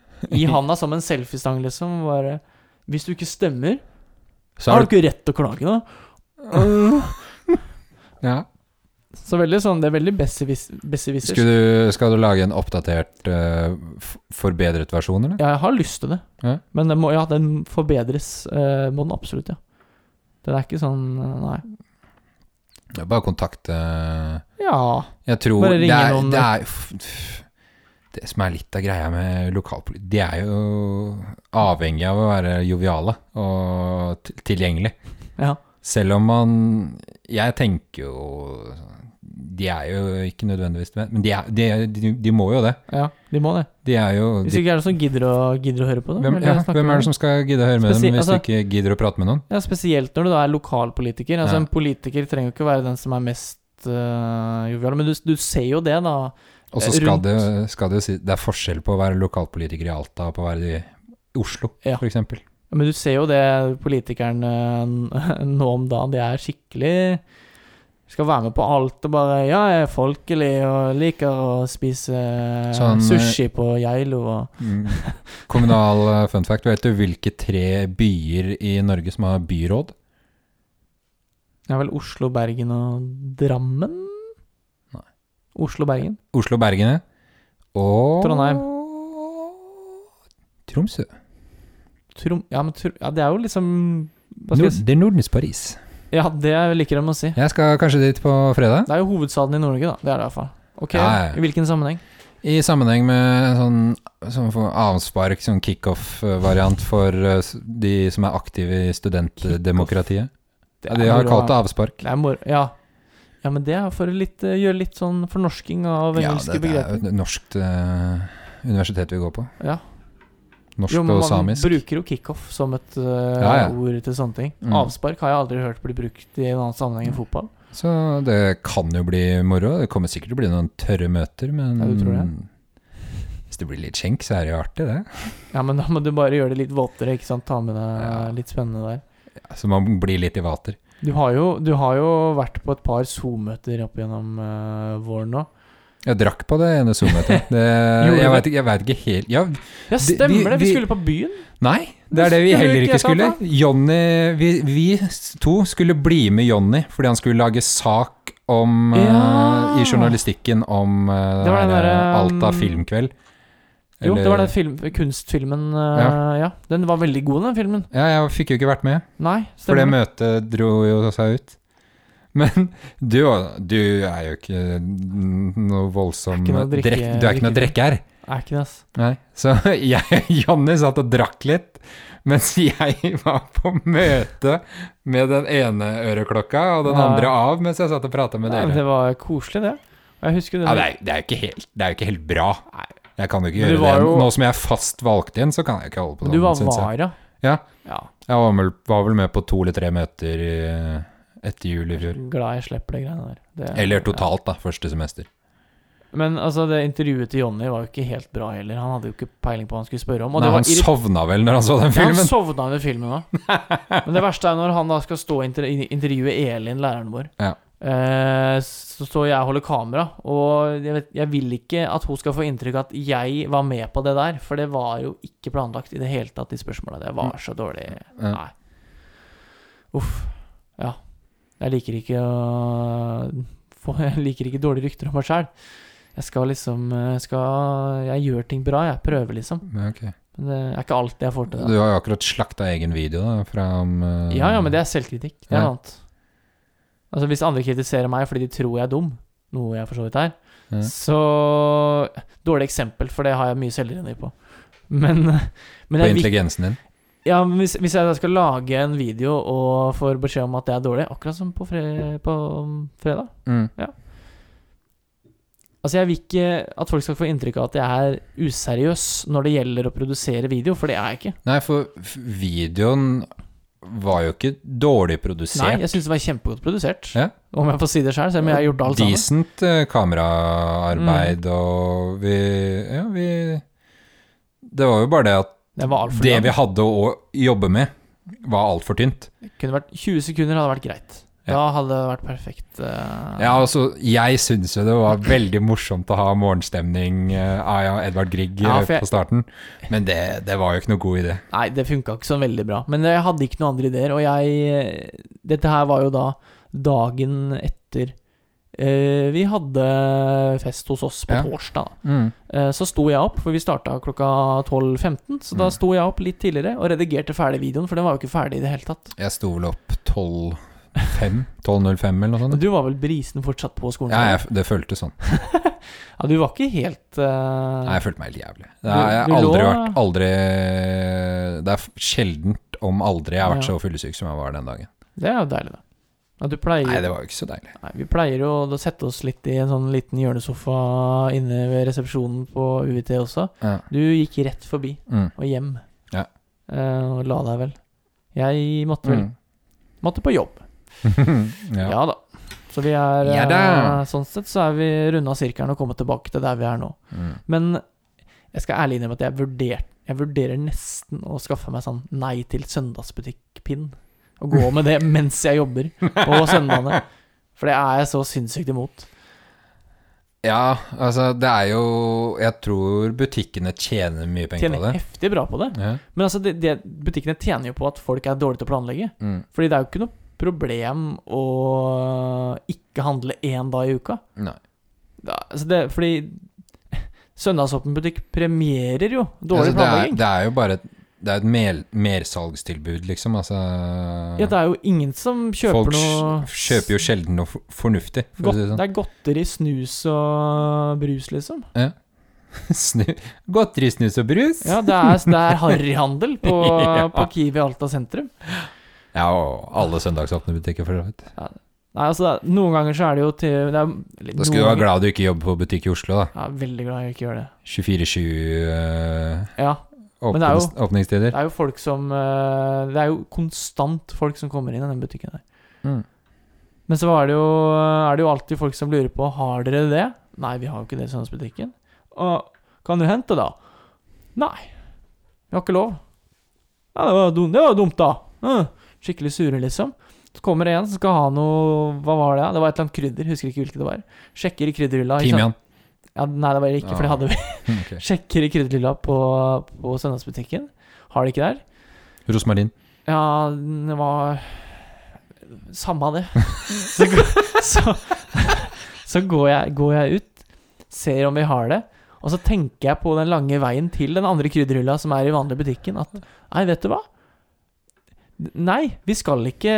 A: i handa som en selfiestang, liksom. Bare Hvis du ikke stemmer,
B: Så
A: så har du
B: er
A: ikke rett til å klage, da.
B: du, ja.
A: Så veldig sånn Det er veldig besserwisser.
B: Skulle du, skal du lage en oppdatert, eh, f- forbedret versjon, eller?
A: Ja, jeg har lyst til det.
B: Ja.
A: Men den, må, ja, den forbedres. eh, må den absolutt, ja. Den er ikke sånn eh, Nei.
B: Det er Bare eh, kontakte
A: Ja.
B: Jeg tror
A: Bare ringe
B: det er,
A: noen.
B: Det, er, f- f- det som er litt av greia med lokalpolitikk, de er jo avhengig av å være joviale og til- tilgjengelig.
A: ja.
B: Selv om man Jeg tenker jo De er jo ikke nødvendigvis det, men de, er, de, de, de må jo det.
A: Ja, de må det.
B: De er jo
A: Hvis
B: de,
A: ikke er det noen som gidder å, gidder å høre på det.
B: hvem, ja, hvem er det som skal gidde å høre med
A: Spesielt-
B: dem hvis
A: altså-
B: du ikke gidder å prate med noen?
A: Ja, spesielt når du da er lokalpolitiker. Altså
B: Ja.
A: En politiker trenger jo ikke være den som er mest øh, jovial, men du, du ser jo det, da.
B: Og så skal
A: Rundt-
B: det, skal det jo si Det er forskjell på å være lokalpolitiker i Alta og på å være i Oslo,
A: Ja.
B: for eksempel.
A: Men du ser jo det politikerne n- nå om dagen. De er skikkelig Skal være med på alt og bare Ja, jeg er folkelig og liker å spise
B: Sånn,
A: sushi på Geilo og
B: Mm. Kommunal eh, fun fact. Vet du hvilke tre byer i Norge som har byråd?
A: Det er vel Oslo, Bergen og Drammen?
B: Nei.
A: Oslo, Bergen.
B: Oslo, Bergen og
A: Trondheim.
B: Tromsø.
A: Trom... Ja, men tro, ja, det er jo liksom hva skal
B: Nord,
A: jeg si?
B: det er Nordens Paris.
A: Ja, det liker de å si.
B: Jeg skal kanskje dit på fredag.
A: Det er jo hovedstaden i Norge, da. Det er det i hvert fall. Ok,
B: Ja, ja, ja.
A: I hvilken sammenheng?
B: I sammenheng med sånn, sånn for avspark, sånn kickoff-variant for eh, s- de som er aktive i studentdemokratiet. Ja, de har
A: moro,
B: kalt det avspark.
A: det er moro. Ja. ja, men det er for å litt, eh, gjøre litt sånn fornorsking av engelske
B: det, det er
A: begreper.
B: jo et norskt eh, universitet vi går på.
A: Ja.
B: Norsk
A: Jo, men
B: og
A: man
B: samisk.
A: bruker jo kickoff som et eh,
B: ja.
A: ord til sånne ting.
B: Mm.
A: Avspark har jeg aldri hørt bli brukt i en annen sammenheng enn fotball.
B: Så det kan jo bli moro. Det kommer sikkert til å bli noen tørre møter, men
A: Ja, du tror
B: hvis det blir litt skjenk, så er det jo artig, det.
A: Ja, men da må du bare gjøre det litt våtere, ikke sant. Ta med deg
B: Ja.
A: litt spennende der.
B: Ja, Så man blir litt i vater.
A: Du har jo, du har jo vært på et par Zoom-møter opp gjennom eh, våren nå.
B: Jeg drakk på det ene Zoom-møtet. Det-
A: Gjorde
B: Jeg
A: du
B: veit ikke, jeg vet ikke helt ja,
A: Ja,
B: De-
A: stemmer
B: vi-
A: det! Vi
B: vi-
A: skulle på byen.
B: Nei, det er det vi
A: Skulle
B: heller
A: ikke
B: ikke
A: jeg ta
B: skulle. Jonny vi, vi to skulle bli med Jonny fordi han skulle lage sak om eh,
A: Ja.
B: I journalistikken om eh,
A: Det var den
B: her, eh,
A: derre,
B: Alta
A: um,
B: filmkveld.
A: Jo, det
B: Eller-
A: var den film, kunstfilmen eh, ja. Den var veldig god, den filmen.
B: Ja, jeg fikk jo ikke vært med.
A: Nei,
B: For det
A: stemmer.
B: møtet dro jo seg ut. Men du, du er jo ikke noe voldsom
A: Er ikke noe drikke-
B: drek, Du er ikke noe
A: drikke-
B: drikker.
A: Er ikke det, ass.
B: Nei. Så jeg, Jonny satt og drakk litt, mens jeg var på møte med den ene øreklokka og den
A: Ja.
B: andre av, mens jeg satt og prata med
A: Nei, men
B: dere.
A: det var koselig, det. Og jeg husker det.
B: Ja, det, er, det, er jo ikke helt, det er jo ikke helt bra. Jeg kan jo ikke
A: Men du
B: gjøre det.
A: var jo-
B: Nå som jeg er fast valgt inn, så kan jeg ikke holde på
A: du var
B: sånn, syns jeg.
A: vara.
B: Ja.
A: ja.
B: Jeg var vel, var vel med på to eller tre møter eh, etter jul i fjor.
A: Glad jeg slipper de greiene der. Det,
B: Eller totalt, da. Første semester.
A: Ja. Men altså, det intervjuet til Jonny var jo ikke helt bra heller. Han hadde jo ikke peiling på hva han skulle spørre om. Og
B: Nei,
A: det var
B: han
A: irri-
B: sovna vel når han så den
A: Ja, han
B: filmen.
A: sovna under filmen òg. Men det verste er når han da skal stå og inter intervjue Elin, læreren vår.
B: Ja.
A: Eh, Så står jeg og holder kamera, og jeg, vet, jeg vil ikke at hun skal få inntrykk av at jeg var med på det der, for det var jo ikke planlagt i det hele tatt, de spørsmåla. Det var så dårlig.
B: Ja.
A: Nei. Uff. Ja. Jeg liker ikke å få Jeg liker ikke dårlige rykter om meg sjæl. Jeg skal liksom eh, skal, Jeg gjør ting bra, jeg. Prøver, liksom.
B: Ja, ok.
A: Men det er ikke alltid jeg får til det.
B: Du har jo akkurat slakta egen video da, fra om eh,
A: Ja, ja, men det er selvkritikk. Det er
B: Ja.
A: noe annet. Altså, hvis andre kritiserer meg fordi de tror jeg er dum, noe jeg for så vidt er,
B: Ja.
A: så Dårlig eksempel, for det har jeg mye selvironi på. Men, men
B: På
A: jeg, vil-
B: intelligensen din.
A: ja, men hvis, hvis jeg da skal lage en video og får beskjed om at det er dårlig, akkurat som på, fre, på um, fredag
B: Mm.
A: Altså, jeg vil ikke at folk skal få inntrykk av at jeg er useriøs når det gjelder å produsere video, for det er jeg ikke.
B: Nei, for f- videoen var jo ikke dårlig produsert.
A: Nei, jeg syns det var kjempegodt produsert,
B: Ja.
A: om jeg får si det sjøl, selv om jeg har gjort alt sammen. Mm.
B: Decent eh, kameraarbeid og vi Ja, vi Det var jo bare det at
A: Den var altfor
B: Det
A: lang.
B: vi hadde å jobbe med, var altfor tynt.
A: Kunne vært 20 sekunder hadde vært greit.
B: Ja.
A: Da hadde det vært perfekt. eh,
B: Ja, altså, jeg syns jo det var veldig morsomt å ha morgenstemning eh, av ja, Edvard Grieg
A: Ja,
B: eh,
A: for jeg-
B: på starten, men det, det var jo ikke noe god idé.
A: Nei, det funka ikke så veldig bra. Men jeg hadde ikke noen andre ideer, og jeg Dette her var jo da dagen etter eh, vi hadde fest hos oss på
B: Ja.
A: torsdag. Eh, så sto jeg opp, for vi starta klokka 12.15, så da
B: Mm.
A: sto jeg opp litt tidligere og redigerte ferdig videoen, for den var jo ikke ferdig i det hele tatt.
B: Jeg sto vel opp 12.05 12.05 eller noe
A: Men
B: sånt.
A: du var vel brisen fortsatt på skolen?
B: Mm. Ja, jeg, det føltes sånn.
A: Ja, du var ikke helt eh,
B: Nei, jeg følte meg helt jævlig.
A: Du-
B: Jeg har
A: du lå-
B: aldri vært aldri Det er sjeldent om aldri jeg har vært
A: Ja.
B: så fyllesyk som jeg var den dagen.
A: Det er jo deilig, da. Ja, du pleier,
B: Nei, det var jo ikke så deilig.
A: Nei, vi pleier jo å sette oss litt i en sånn liten hjørnesofa inne ved resepsjonen på UiT også.
B: Ja.
A: Du gikk rett forbi
B: Mm.
A: og hjem.
B: Ja.
A: Eh, og la deg vel. Jeg måtte vel
B: Mm.
A: Måtte på jobb. Ja,
B: ja.
A: da. Så vi er
B: Ja da.
A: eh, Sånn sett så er vi runda sirkelen og kommet tilbake til der vi er nå.
B: Mm.
A: Men jeg skal ærlig innrømme at jeg, vurdert, jeg vurderer nesten å skaffe meg sånn nei til søndagsbutikk-pinn. Og gå med det mens jeg jobber på søndagene. For det er jeg så sinnssykt imot.
B: ja, altså, det er jo Jeg tror butikkene tjener mye penger på
A: Tjener
B: det.
A: heftig bra på det.
B: Ja.
A: Men altså, det, det, butikkene tjener jo på at folk er dårlige til å planlegge.
B: Mm.
A: Fordi det er jo ikke noe problem å ikke handle én dag i uka.
B: Nei.
A: Da, altså det, fordi søndagsåpen butikk premierer jo dårlig
B: Altså, det, er,
A: planlegging.
B: det er jo bare et, det er et mer, mersalgstilbud, liksom. Altså,
A: ja, det er jo ingen som kjøper
B: folk
A: noe
B: sj- kjøper jo sjelden noe for- fornuftig, for å
A: Godt,
B: si det sånn.
A: Det er godteri, snus og brus, liksom.
B: Snu, godteri, snus og brus.
A: Ja, det er, det er harryhandel på,
B: Ja.
A: på Kiwi Alta sentrum.
B: Ja, og alle søndagsåpne butikker, for så vidt.
A: Nei, altså, det er, noen ganger så er det jo til det er, eller,
B: Da skulle du
A: noen
B: være
A: ganger-
B: glad du ikke jobber på butikk i Oslo, da.
A: Ja, jeg er veldig glad jeg ikke gjør det.
B: 24-7 eh,
A: Ja, Men det er
B: åpnings, åpningstider.
A: Det er jo folk som eh, Det er jo konstant folk som kommer inn i den butikken der.
B: Mm.
A: Men så er det, jo, er det jo alltid folk som lurer på Har dere det. Nei, vi har jo ikke det i søndagsbutikken. Og kan du hente, da? Nei. Vi har ikke lov. Ja, det var, dum, det var dumt, da. Mm. Skikkelig sure, liksom. Så kommer det en som skal ha noe Hva var det? Det var et eller annet krydder. Husker ikke hvilket det var. Sjekker i krydderhylla. ikke sant?
B: Timian.
A: Ja, nei, det var det ikke, for det hadde vi.
B: Mm, Ok.
A: Sjekker i krydderhylla på, på søndagsbutikken. Har det ikke der.
B: Rosmarin.
A: Ja, det var Samme av det. Så, gå- så, så går, jeg, går jeg ut, ser om vi har det, og så tenker jeg på den lange veien til den andre krydderhylla som er i vanlig butikken, at nei, vet du hva? Nei, vi skal ikke,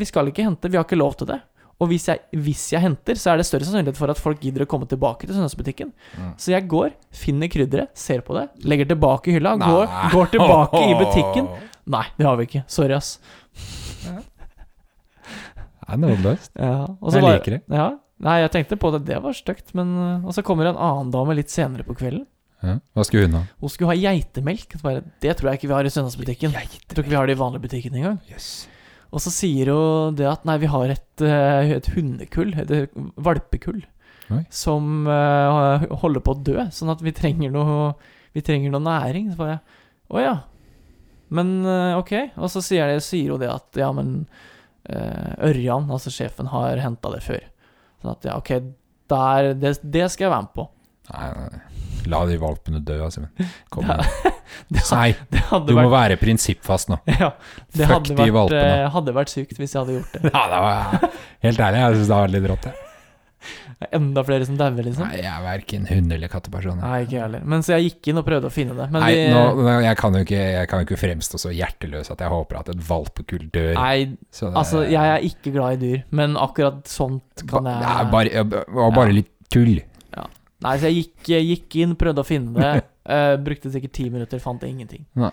A: vi skal ikke hente. Vi har ikke lov til det. Og hvis jeg, hvis jeg henter, så er det større sannsynlighet for at folk gidder å komme tilbake til søndagsbutikken.
B: Mm.
A: Så jeg går, finner krydderet, ser på det, legger tilbake i hylla, går,
B: Nei.
A: går tilbake i butikken. Nei, det har vi ikke. Sorry, ass.
B: Det er nådeløst.
A: Ja, og så
B: Jeg
A: var-
B: liker det.
A: Ja. Nei, jeg tenkte på det. Det var stygt. Men øh, Og så kommer en annen dame litt senere på kvelden.
B: Ja. Hva skulle hun ha?
A: Hun skulle ha geitemelk. Så bare, det tror jeg ikke vi har i søndagsbutikken. Jeg tror ikke vi har det i vanlige butikken engang. Og så sier hun det at nei, vi har et, øh, et hundekull, et øh, valpekull,
B: Oi.
A: som øh, holder på å dø. Sånn at vi trenger noe, vi trenger noe næring. Så bare Å ja. Men øh, ok. Og så sier, det, sier hun det at ja, men eh, Ørjan, altså sjefen, har henta det før. Sånn at ja, ok, der, det, det skal jeg være med på.
B: Nei, nei, nei. La de valpene dø, altså. men Kom
A: Ja.
B: igjen.
A: Det, ha-
B: Nei,
A: det
B: du
A: hadde
B: må
A: vært
B: være prinsippfast nå.
A: ja, Det
B: Fuck
A: hadde
B: de
A: vært,
B: valpene.
A: eh, hadde vært sykt hvis jeg hadde gjort det.
B: Ja, det var, helt ærlig, jeg syns det var litt rått. jeg.
A: Enda flere som dauer, liksom.
B: Nei, jeg er verken hund- eller katteperson. jeg.
A: Nei, ikke jeg heller. Men så jeg gikk inn og prøvde å finne det. Men
B: Nei,
A: vi,
B: nå, nå- jeg kan jo ikke, jeg kan jo ikke fremstå så hjerteløs at jeg håper at et valpekull dør.
A: nei,
B: Så det-
A: altså, jeg er ikke glad i dyr, men akkurat sånt kan
B: Ba-
A: jeg
B: Det er bare, ja, b- var bare
A: Ja.
B: litt tull.
A: Nei, så jeg gikk, jeg gikk inn, prøvde å finne det. eh, brukte sikkert ti minutter, fant ingenting.
B: Nei.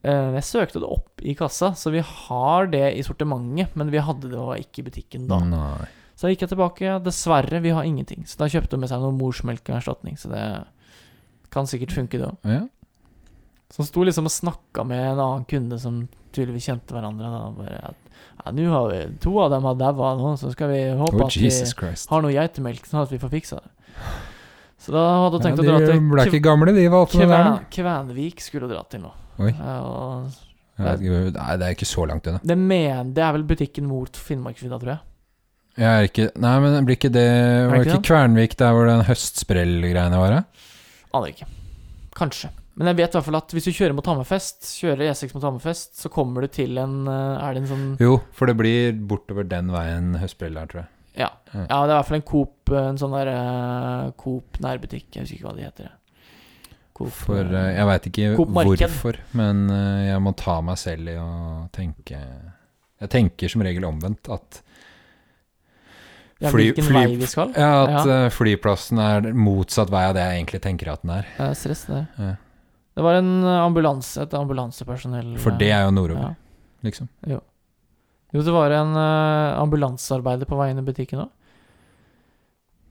A: Eh, jeg søkte det opp i kassa, så vi har det i sortimentet, men vi hadde det jo ikke i butikken da.
B: Nei.
A: Så gikk jeg tilbake. Dessverre, vi har ingenting. Så da kjøpte hun med seg noe morsmelkerstatning, så det kan sikkert funke, det òg.
B: Ja.
A: Så hun sto liksom og snakka med en annen kunde som tydeligvis kjente hverandre. Da, og bare at ja, nå har vi to av dem har daua nå, så skal vi håpe
B: Oh,
A: at vi
B: Jesus Christ.
A: har noe geitemelk, sånn at vi får fiksa det. Så da hadde hun tenkt å
B: Ja,
A: dra
B: de
A: til
B: ble
A: Kve-
B: ikke gamle, de valpene der.
A: Kvæ- Kvenvik skulle hun dra til nå.
B: Oi.
A: Eh, og
B: Jeg vet ikke- Nei, det er ikke så langt unna.
A: det, men, det er vel butikken mot Finnmarksvidda, tror jeg.
B: Jeg er ikke Nei, men blir ikke det Var
A: ikke
B: det ikke Kvernvik der hvor den høstsprellgreiene var? da?
A: Aner ikke. Kanskje. Men jeg vet i hvert fall at hvis du kjører mot Hammerfest, kjører E6 mot Hammerfest, så kommer du til en eh, Er det en sånn
B: Jo, for det blir bortover den veien høstbrell der, tror jeg.
A: Ja.
B: Ja.
A: ja, det er i hvert fall en Coop, eh, en sånn der eh, Coop nærbutikk. Jeg husker ikke hva de heter. Coop,
B: For
A: eh,
B: eh, jeg veit ikke
A: Coop Marked.
B: hvorfor, men eh, jeg må ta meg selv i å tenke Jeg tenker som regel omvendt at
A: ja,
B: fly-
A: hvilken
B: fly-
A: vei vi skal.
B: Ja, at
A: Ja.
B: eh, flyplassen er motsatt vei av det jeg egentlig tenker at den er. eh,
A: Det er stress, det.
B: Ja.
A: Det var en ambulanse, et ambulansepersonell eh,
B: For det er jo nordover,
A: ja.
B: liksom.
A: Jo, det var en eh, ambulansearbeider på vei inn i butikken òg.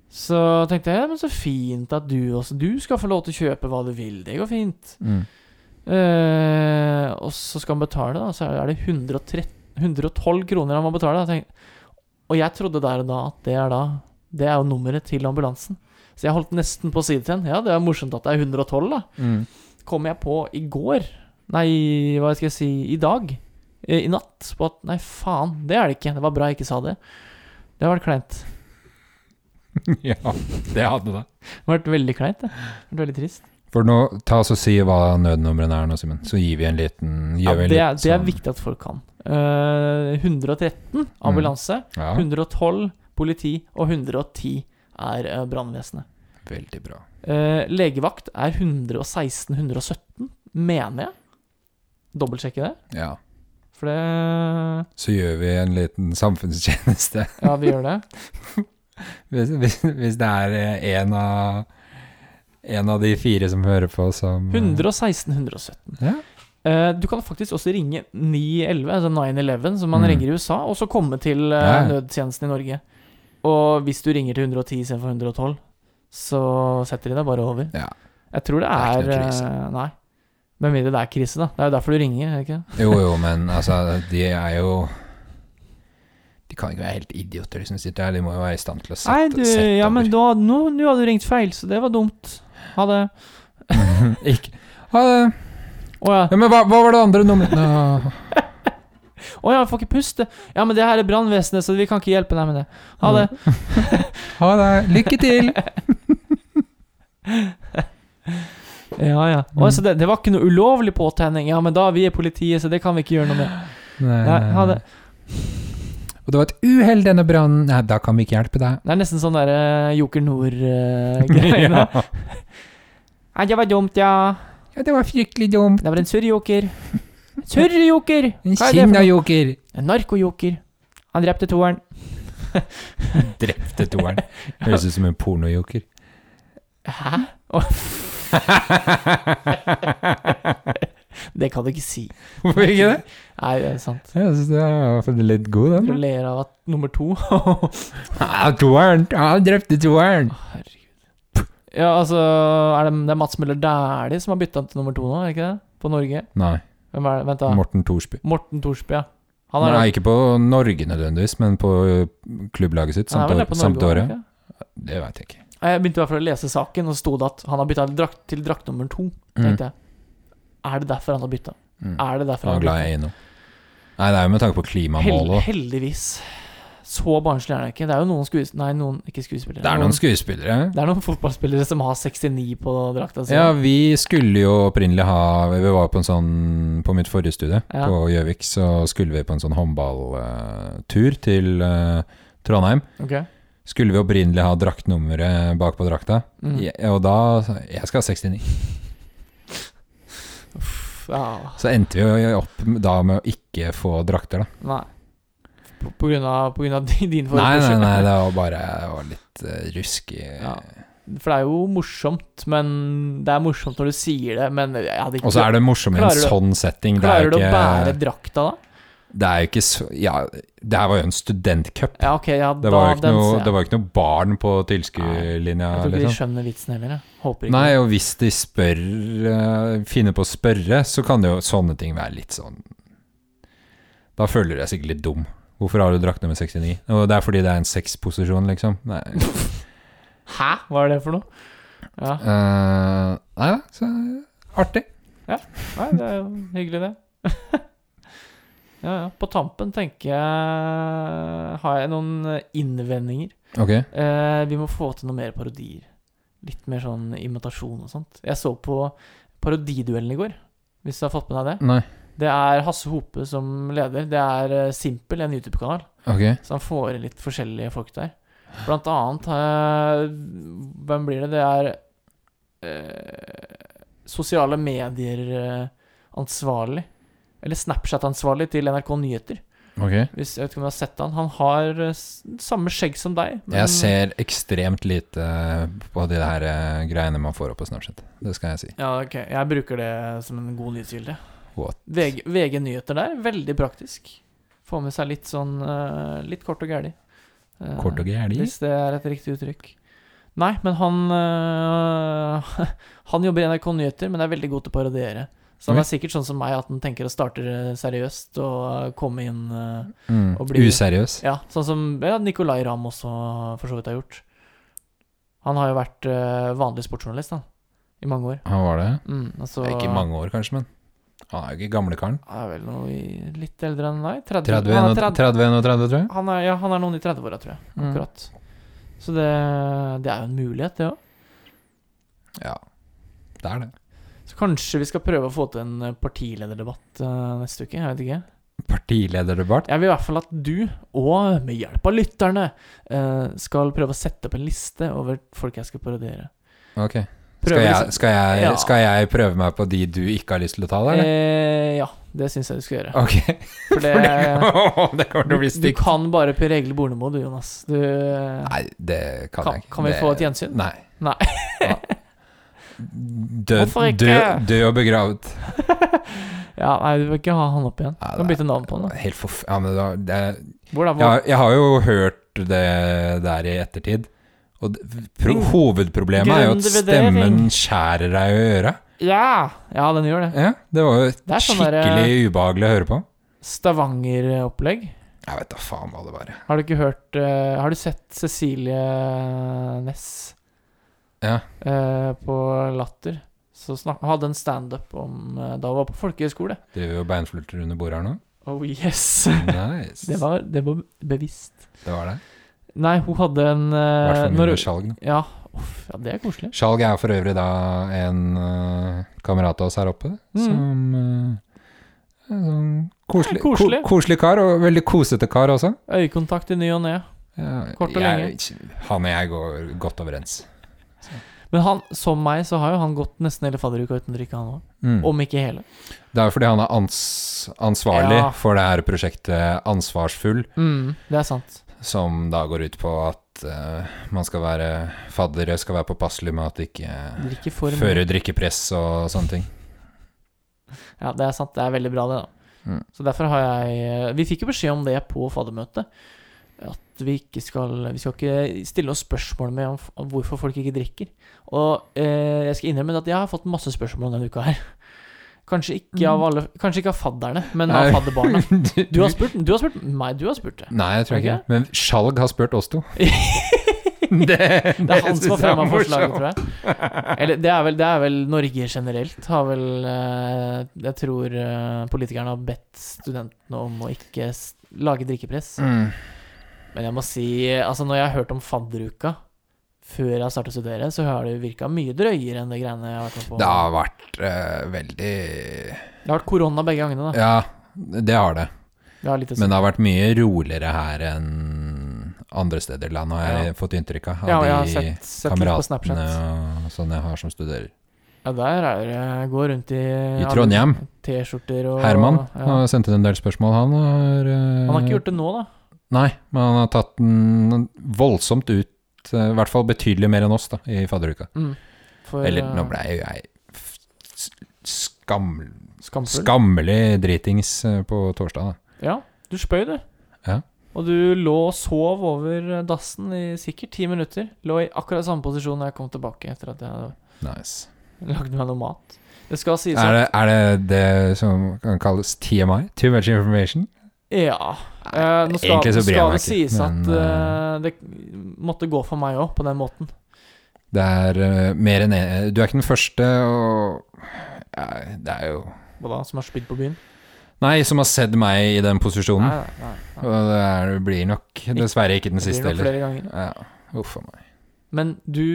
A: Så tenkte jeg, ja, men så fint at du også Du skal få lov til å kjøpe hva du vil. Det går fint.
B: Mm.
A: Eh, og så skal han betale, da. Så er det 113, 112 kroner han må betale. Da. Tenk- Og jeg trodde der og da at det er da Det er jo nummeret til ambulansen. Så jeg holdt nesten på å si det til henne. Ja, det er morsomt at det er 112, da.
B: Mm.
A: Kom jeg på i går Nei, hva skal jeg si I dag. eh, I natt. På at Nei, faen, det er det ikke. Det var bra jeg ikke sa det. Det har vært kleint.
B: ja, det hadde det.
A: Det har vært veldig kleint. Det. Det har vært veldig trist.
B: For nå, ta oss og si hva nødnumrene er nå, Simen. Så gir vi en liten
A: Ja,
B: gjør vi en
A: det, er,
B: liten
A: det er
B: sånn-
A: viktig at folk kan. Eh, 113 ambulanse.
B: Ja,
A: 112 politi og 110 er eh, brannvesenet.
B: veldig bra.
A: Eh, legevakt er 116-117, mener jeg. Dobbeltsjekke det.
B: Ja.
A: For det
B: Så gjør vi en liten samfunnstjeneste.
A: Ja, vi gjør det.
B: Hvis, hvis, hvis det er eh, en av, en av de fire som hører på som eh,
A: 116-117.
B: Ja.
A: Eh, du kan faktisk også ringe 911, altså 911, som man
B: Mm.
A: ringer i USA, og så komme til eh,
B: Ja.
A: nødtjenesten i Norge. Og hvis du ringer til 110 istedenfor 112, så setter de deg bare over.
B: Ja.
A: Jeg tror det
B: Det er
A: er,
B: ikke noe krise.
A: eh, Nei. Med mindre det er krise, da. Det er jo derfor du ringer, er det ikke? det?
B: Jo, jo, men altså, de er jo De kan ikke være helt idioter, de som sitter her. De må jo være i stand til å sette,
A: Nei, du,
B: sette
A: ja, men
B: over.
A: da, nå, nå hadde du ringt feil, så det var dumt. Ha det.
B: ikke. Ha det.
A: Å ja.
B: Ja, men hva, hva var det andre nummeret? Nå-
A: Å ja, jeg får ikke puste. Ja, men det her er brannvesenet, så vi kan ikke hjelpe deg med det. Ha det.
B: Ha det. Lykke til.
A: Ja, ja.
B: Mm.
A: Å, så det, det var ikke noe ulovlig påtenning. Ja, men da, vi er politiet, så det kan vi ikke gjøre noe med.
B: Nei,
A: Nei, ha det.
B: eh, Og det var et uhell, denne brannen. Nei, da kan vi ikke hjelpe deg.
A: Det er nesten sånn derre Joker Nord-greiene.
B: ja.
A: Nei, det var dumt, ja.
B: ja, det var fryktelig dumt.
A: Det var en surrejoker. Surrejoker!
B: En
A: Hva er det for
B: sinna
A: noe?
B: joker.
A: En narkojoker. Han drepte toeren.
B: Drepte toeren. Høres ut som en pornojoker.
A: Hæ? Det kan du ikke si.
B: Hvorfor ikke det?
A: Nei, det er sant.
B: Jeg synes det er i hvert fall litt god,
A: Du
B: den.
A: ler av at nummer to
B: Ja, toeren. Ja, drepte toeren.
A: Herregud. Ja, altså er det, det er Mats Møller Dæhlie som har bytta til nummer to nå, er det ikke det? På Norge?
B: Nei,
A: Hvem er det? Vent, da.
B: Morten Thorsby.
A: Morten Thorsby, ja. Han er,
B: Nei, ikke på Norge nødvendigvis, men på ø, klubblaget sitt
A: han er
B: samt,
A: vel
B: år,
A: der på Norge
B: samt
A: også,
B: året.
A: ikke?
B: Det veit jeg ikke.
A: Jeg begynte i hvert fall å lese saken, og så sto det at han har bytta drakt til drakt nummer to.
B: Mm.
A: Tenkte jeg. Er det derfor han har bytta?
B: Mm.
A: Er det derfor
B: Han var
A: han
B: glad
A: har
B: i eiendom. Nei, det er jo med tanke på
A: bytta? Hel
B: klimamålet òg.
A: heldigvis. Så barnslig er det ikke. Det er jo noen skues... Nei, noen, ikke skuespillere.
B: Det er noen skuespillere.
A: det er noen fotballspillere som har 69 på drakta si.
B: Altså, Ja, vi skulle jo opprinnelig ha Vi var på en sånn På mitt forrige studie
A: Ja.
B: på Gjøvik, så skulle vi på en sånn håndballtur til eh, Trondheim.
A: Ok.
B: Skulle vi opprinnelig ha draktnummeret bak på drakta,
A: Mm.
B: Je- og da sa jeg, Jeg skal ha 69.
A: Uff, ja.
B: Så endte vi jo opp da med å ikke få drakter, da.
A: Nei. På, på, grunn av, på grunn av din din
B: Nei, nei,
A: forespørsel.
B: nei, det var bare det var litt eh, rusk i
A: Ja. For det er jo morsomt, men Det er morsomt når du sier det, men jeg hadde ikke
B: Og så er det morsomt i en
A: Klarer du-
B: sånn setting. Det er
A: Klarer
B: jo
A: du å bære
B: ikke,
A: drakta da?
B: det er jo ikke så Ja, det her var jo en studentcup.
A: Ja, ok, ja,
B: Det
A: da
B: var jo ikke,
A: den
B: noe,
A: ser jeg.
B: det var jo ikke noe barn på tilskuerlinja.
A: Jeg tror ikke de
B: Liksom.
A: skjønner vitsen heller, jeg. Håper ikke.
B: Nei, og hvis de spør, eh, finner på å spørre, så kan det jo sånne ting være litt sånn Da føler du deg sikkert litt dum. Hvorfor har du drakt nummer 69? Og det er fordi det er en sexposisjon, liksom. Nei,
A: Hæ? Hva er det for noe? Ja.
B: Eh, nei da, så artig.
A: Nei, det er jo hyggelig, det. ja, ja. På tampen tenker jeg Har jeg noen eh, innvendinger?
B: Ok.
A: Eh, vi må få til noe mer parodier. Litt mer sånn imitasjon og sånt. Jeg så på Parodiduellen i går, hvis du har fått med deg det.
B: Nei.
A: Det er Hasse Hope som leder. Det er eh, Simpel, en YouTube-kanal.
B: Ok.
A: Så han får inn litt forskjellige folk der. Blant annet eh, Hvem blir det? Det er eh, sosiale medier-ansvarlig. Eller Snapchat-ansvarlig til NRK Nyheter.
B: ok.
A: Hvis, jeg vet ikke om du har sett han Han har eh, s- samme skjegg som deg. men-
B: Jeg ser ekstremt lite på de her eh, greiene man får opp på Snapchat. Det skal jeg si.
A: Ja, ok. Jeg bruker det som en god nyhetskilde.
B: What?
A: VG, VG Nyheter der, veldig praktisk. Få med seg litt sånn eh, Litt kort og gæli. Eh,
B: Kort og gæli?
A: Hvis det er et riktig uttrykk. Nei, men han øh, Han jobber i NRK Nyheter, men er veldig god til å parodiere. Så han
B: Oi.
A: er sikkert sånn som meg, at han tenker å starte eh, seriøst og eh, komme inn eh,
B: Mm.
A: Å bli-
B: Useriøs.
A: Ja, sånn som ja, Nicolay Ramm også for så vidt har gjort. Han har jo vært eh, vanlig sportsjournalist, han. I mange år.
B: Han var det.
A: Mm, altså,
B: Ja, Ikke mange år, kanskje, men han er jo ikke gamlekaren.
A: Han er vel noe i, litt eldre enn deg? 30?
B: 30,
A: han, er
B: 31,
A: 30
B: tror jeg.
A: han, er, ja, han er noen i 30-åra, tror jeg.
B: Mm.
A: Akkurat. Så det, det er jo en mulighet, det òg.
B: Ja, det er det.
A: Så kanskje vi skal prøve å få til en eh, partilederdebatt eh, neste uke. Jeg vet ikke.
B: Partilederdebatt.
A: Jeg vil i hvert fall at du, og med hjelp av lytterne, eh, skal prøve å sette opp en liste over folk jeg skal parodiere.
B: Ok.
A: Prøver
B: Skal
A: liksom-
B: jeg, skal,
A: Ja.
B: jeg, skal jeg prøve meg på de du ikke har lyst til å ta, da? Eller?
A: Eh, ja, det syns jeg du skal gjøre.
B: Ok.
A: For det,
B: For det, det kommer til å bli
A: du, du
B: stygt.
A: kan bare Per Egil Bornemo, du, Jonas. Du, eh,
B: Nei, det kan,
A: Kan-
B: jeg ikke.
A: kan vi
B: Det-
A: få et gjensyn?
B: Nei.
A: Nei.
B: Ja. Død,
A: Hvorfor ikke?
B: død, død og begravet.
A: ja, nei, du vil ikke ha han opp igjen.
B: Nei,
A: Du kan bytte navn på han. da.
B: Helt forf... Ja, men da, det,
A: Hvor da?
B: jeg,
A: Hvor?
B: har- jeg har jo hørt det der i ettertid. Og det- pro
A: Mm.
B: hovedproblemet er jo at
A: Grundvurdering.
B: stemmen skjærer deg i øret.
A: Ja! ja, den gjør det.
B: Ja, det var jo
A: Det er sånn der-
B: skikkelig ubehagelig å høre på.
A: Stavanger-opplegg.
B: Jeg vet da faen hva det var. jeg.
A: Har du ikke hørt eh, Har du sett Cecilie Ness?
B: Ja.
A: Eh, på Latter. Så snak, hadde en standup om eh, da hun var på folkehøyskole.
B: Driver jo og beinflørter under bordet her nå.
A: Oh yes!
B: Nice.
A: Det var, det var bevisst.
B: Det var det.
A: Nei, hun hadde en
B: I hvert
A: uh,
B: fall
A: når,
B: under skjalg. nå.
A: Ja, uff, ja, det er koselig.
B: Skjalg er for øvrig da en eh, kamerat av oss her oppe,
A: Mm.
B: som eh, er sånn koselig,
A: Ja, koselig.
B: Ko koselig kar, og veldig kosete kar også.
A: Øyekontakt i ny og ne.
B: Ja,
A: Kort og
B: jeg- Han og jeg går godt overens.
A: Men han, som meg, så har jo han gått nesten hele fadderuka uten å drikke, han òg.
B: Mm.
A: Om ikke hele.
B: Det er jo fordi han er ans ansvarlig
A: Ja.
B: for det her prosjektet Ansvarsfull,
A: Mm, det er sant.
B: som da går ut på at eh, man skal være fadder, skal være påpasselig med at det ikke
A: Drikke for mye.
B: fører drikkepress og sånne ting.
A: Ja, det er sant. Det er veldig bra, det, da.
B: Mm.
A: Så derfor har jeg eh, Vi fikk jo beskjed om det på faddermøtet. At vi ikke skal Vi skal ikke stille oss spørsmål med om, f- om hvorfor folk ikke drikker. Og eh, jeg skal innrømme at jeg har fått masse spørsmål denne uka her. Kanskje ikke av alle Kanskje ikke av fadderne, men av
B: Mm. Nei.
A: fadderbarna.
B: Du,
A: Du har spurt du har spurt meg, du har spurt det.
B: Nei, jeg tror
A: Ok.
B: ikke det. Men Skjalg har spurt oss to. det, det
A: Det er han som har
B: synes jeg
A: fremma
B: morsomt.
A: forslaget, tror jeg. Eller det er vel, det er vel Norge generelt har vel eh, Jeg tror eh, politikerne har bedt studentene om å ikke s- lage drikkepress.
B: Mm.
A: Men jeg må si, altså når jeg har hørt om fadderuka før jeg startet å studere, så har det jo virka mye drøyere enn det greiene jeg har vært med på.
B: Det har vært eh, veldig
A: Det har vært korona begge gangene, da.
B: Ja, det har det.
A: Det har litt å si.
B: Men det har vært mye roligere her enn andre steder i landet, har jeg fått inntrykk av. Av
A: ja, og jeg har
B: de
A: sett, sett litt på
B: kameratene
A: Snapchat.
B: og sånne jeg har som studerer.
A: Ja, der er det Går rundt i
B: I Trondheim.
A: T-skjorter og
B: Herman
A: Ja.
B: har sendt inn en del spørsmål. Han har eh,
A: Han har ikke gjort det nå, da.
B: Nei, men han har tatt den voldsomt ut, eh, i hvert fall betydelig mer enn oss, da, i fadderuka.
A: Mm. For,
B: Eller
A: eh,
B: nå ble jeg, jeg f- s- skam,
A: Skamfull.
B: skammelig dritings eh, på torsdag. Da.
A: Ja, du spøy, du.
B: Ja.
A: Og du lå og sov over dassen i sikkert ti minutter. Lå i akkurat samme posisjon da jeg kom tilbake etter at jeg hadde
B: Nice.
A: lagd meg noe mat. Det skal sies
B: Er det, er det det som kan kalles TMI? Too much information?
A: Ja. Eh, nå skal,
B: egentlig så bryr jeg
A: skal
B: meg
A: det
B: ikke,
A: sies at
B: men,
A: eh, det måtte gå for meg òg, på den måten.
B: Det er eh, mer enn Du er ikke den første, og ja, det er jo
A: Hva da? Som har spydd på byen?
B: Nei, som har sett meg i den posisjonen.
A: Nei, nei, nei, nei.
B: Og det er, blir nok dessverre ikke den
A: Det blir
B: siste
A: nok
B: heller.
A: flere ganger.
B: Ja, uff a meg.
A: Men du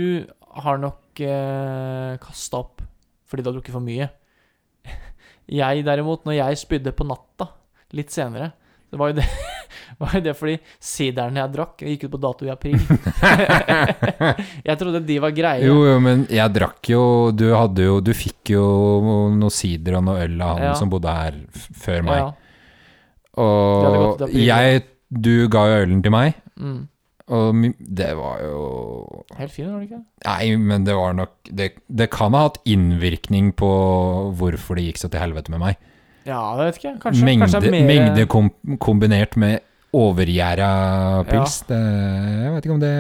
A: har nok eh, kasta opp fordi du har drukket for mye. Jeg derimot, når jeg spydde på natta litt senere Det var jo det, var jo det fordi siderne jeg drakk, gikk ut på dato i april. jeg trodde de var greie.
B: Jo, jo, men jeg drakk jo Du hadde jo Du fikk jo noe sider og noe øl av han
A: Ja.
B: som bodde her f før meg.
A: Ja, Det hadde gått
B: Og
A: til april.
B: jeg Du ga jo ølen til meg,
A: mm.
B: og mi- det var jo
A: Helt fin, var det ikke?
B: Nei, men det var nok Det, det kan ha hatt innvirkning på hvorfor det gikk så til helvete med meg.
A: Ja, det vet ikke. jeg. Kanskje,
B: mengde
A: kanskje det er mer
B: mengde kom, kombinert med overgjæra pils. Det, jeg vet ikke om det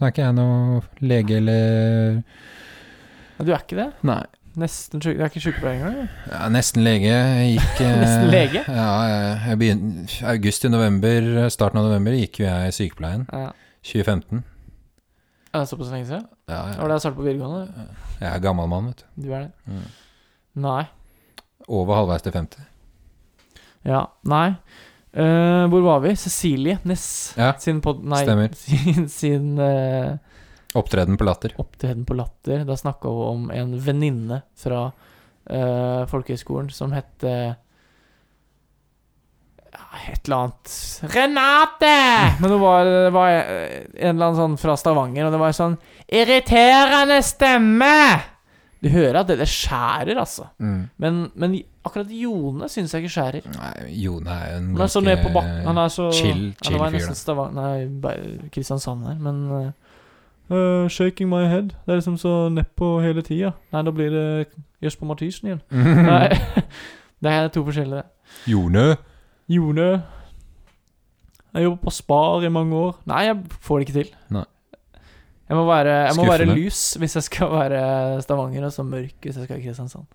B: Nå er ikke jeg noe lege eller
A: Ja, Du er ikke det?
B: Nei.
A: Nesten syk... Du er ikke sykepleier engang? du.
B: Ja, nesten lege. Jeg Gikk eh,
A: Nesten lege?
B: Ja, jeg- jeg begyn- august til november, starten av november, gikk jo jeg i sykepleien.
A: Ja.
B: 2015.
A: Er det Såpass lenge siden? Det
B: Ja,
A: var
B: jeg,
A: da jeg startet på videregående.
B: jeg er gammel mann, vet du.
A: Du er det?
B: Mm.
A: Nei.
B: Over halvveis til 50.
A: Ja, nei. Eh, hvor var vi? Cecilie Ness.
B: Ja,
A: Sin pod... Nei,
B: stemmer.
A: sin, sin eh,
B: Opptreden på Latter.
A: opptreden på Latter. Da snakka hun om en venninne fra eh, folkehøyskolen som het eh, ja, et eller annet Renate! Men hun var, det var eh, en eller annen sånn fra Stavanger, og det var en sånn Irriterende stemme! Du hører at det, det skjærer, altså.
B: Mm.
A: Men, men akkurat Jone syns jeg ikke skjærer.
B: Nei, Jone er jo en
A: Han er så nede på bakken. Han er så
B: chill-
A: ja, det
B: chill
A: var
B: fyr,
A: nesten
B: da.
A: Stavanger- Nei, bare Kristiansand her, men eh, eh, Shaking my head. Det er liksom så nedpå hele tida. Nei, da blir det Jesper Mathisen igjen. Nei, det er to forskjellige.
B: Jone?
A: Jone Jeg jobber på Spar i mange år. Nei, jeg får det ikke til.
B: Nei.
A: Jeg må være, jeg må være
B: Skuffende.
A: lys hvis jeg skal være Stavanger, og så mørk hvis jeg skal i Kristiansand.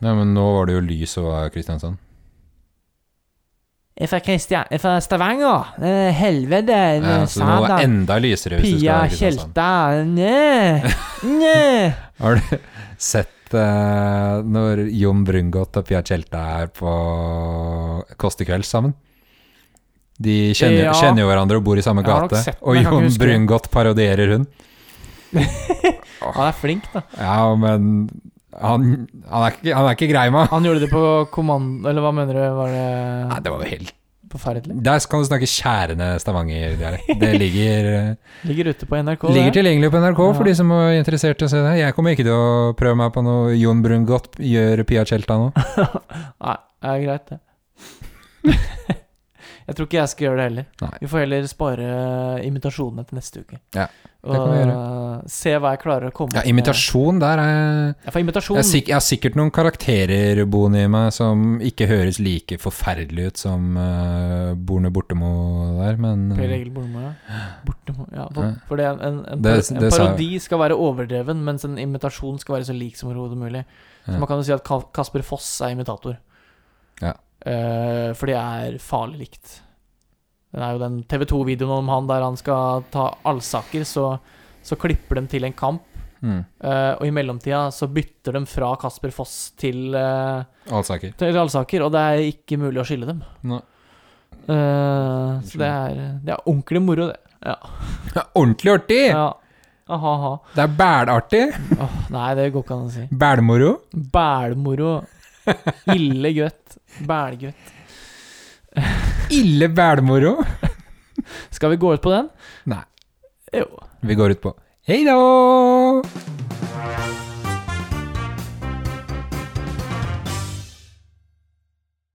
B: Nei, men nå var det jo lys og var Kristiansand.
A: Jeg er fra Kristian... Jeg er fra Stavanger! Eh, Helvete!
B: Ja, så det må være enda lysere hvis du skal
A: Eh, Pia
B: være i Kristiansand.
A: Tjelta Nei. Nei.
B: Har du sett eh, når Jon Brungot og Pia Tjelta er på Kåss til kvelds sammen? De kjenner,
A: Ja.
B: kjenner jo hverandre og bor i samme
A: Jeg har nok
B: gate.
A: sett den,
B: Og
A: jeg kan ikke
B: Jon
A: huske det.
B: Brungot parodierer hun.
A: Han er flink, da.
B: Ja, men han, han, er, ikke, han er ikke grei med
A: Han gjorde det på kommando Eller hva mener du? Var
B: Nei,
A: det
B: det var jo helt
A: forferdelig?
B: Der skal du snakke skjærende Stavanger-dialekt. Det ligger eh,
A: Ligger ute på NRK.
B: Ligger
A: det.
B: tilgjengelig på NRK for
A: Ja.
B: de som er interessert i å se det. Jeg kommer ikke til å prøve meg på noe Jon Brungot gjør Pia Tjelta nå.
A: Nei, det er greit, det. jeg tror ikke jeg skal gjøre det heller.
B: Nei.
A: Vi får heller spare imitasjonene til neste uke.
B: Ja,
A: Og
B: kan vi
A: eh, se hva jeg klarer å komme
B: Ja, imitasjon der er
A: Jeg får imitasjon.
B: jeg, er sik jeg har sikkert noen karakterer boende i meg som ikke høres like forferdelig ut som uh, Borne Bortemo der, men eh,
A: Per Egil Bornemo, ja. Bortemo, ja.
B: Ja.
A: For, for det, en, en, en,
B: Det-
A: par- en
B: det sa jeg.
A: parodi skal være overdreven, mens en imitasjon skal være så lik som overhodet mulig. Så
B: Ja.
A: man kan jo si at Ka- Kasper Foss er imitator.
B: Ja.
A: Eh, for det er farlig likt. Den er jo den TV2-videoen om han der han skal ta allsaker, så, så klipper de til en kamp.
B: mm,
A: eh, og i mellomtida så bytter de fra Kasper Foss til, eh,
B: Alsaker.
A: til allsaker, og det er ikke mulig å skille dem.
B: Nå.
A: Eh, så det er, det er ordentlig moro, det.
B: Ordentlig artig!
A: Ja. Aha, aha.
B: Det er bælartig!
A: Åh, nei, det går ikke an å si.
B: Bælmoro.
A: Bælmoro. Ille gutt. Bælgutt.
B: Ille bælmoro.
A: Skal vi gå ut på den?
B: Nei.
A: Jo.
B: Vi går ut på Hei da!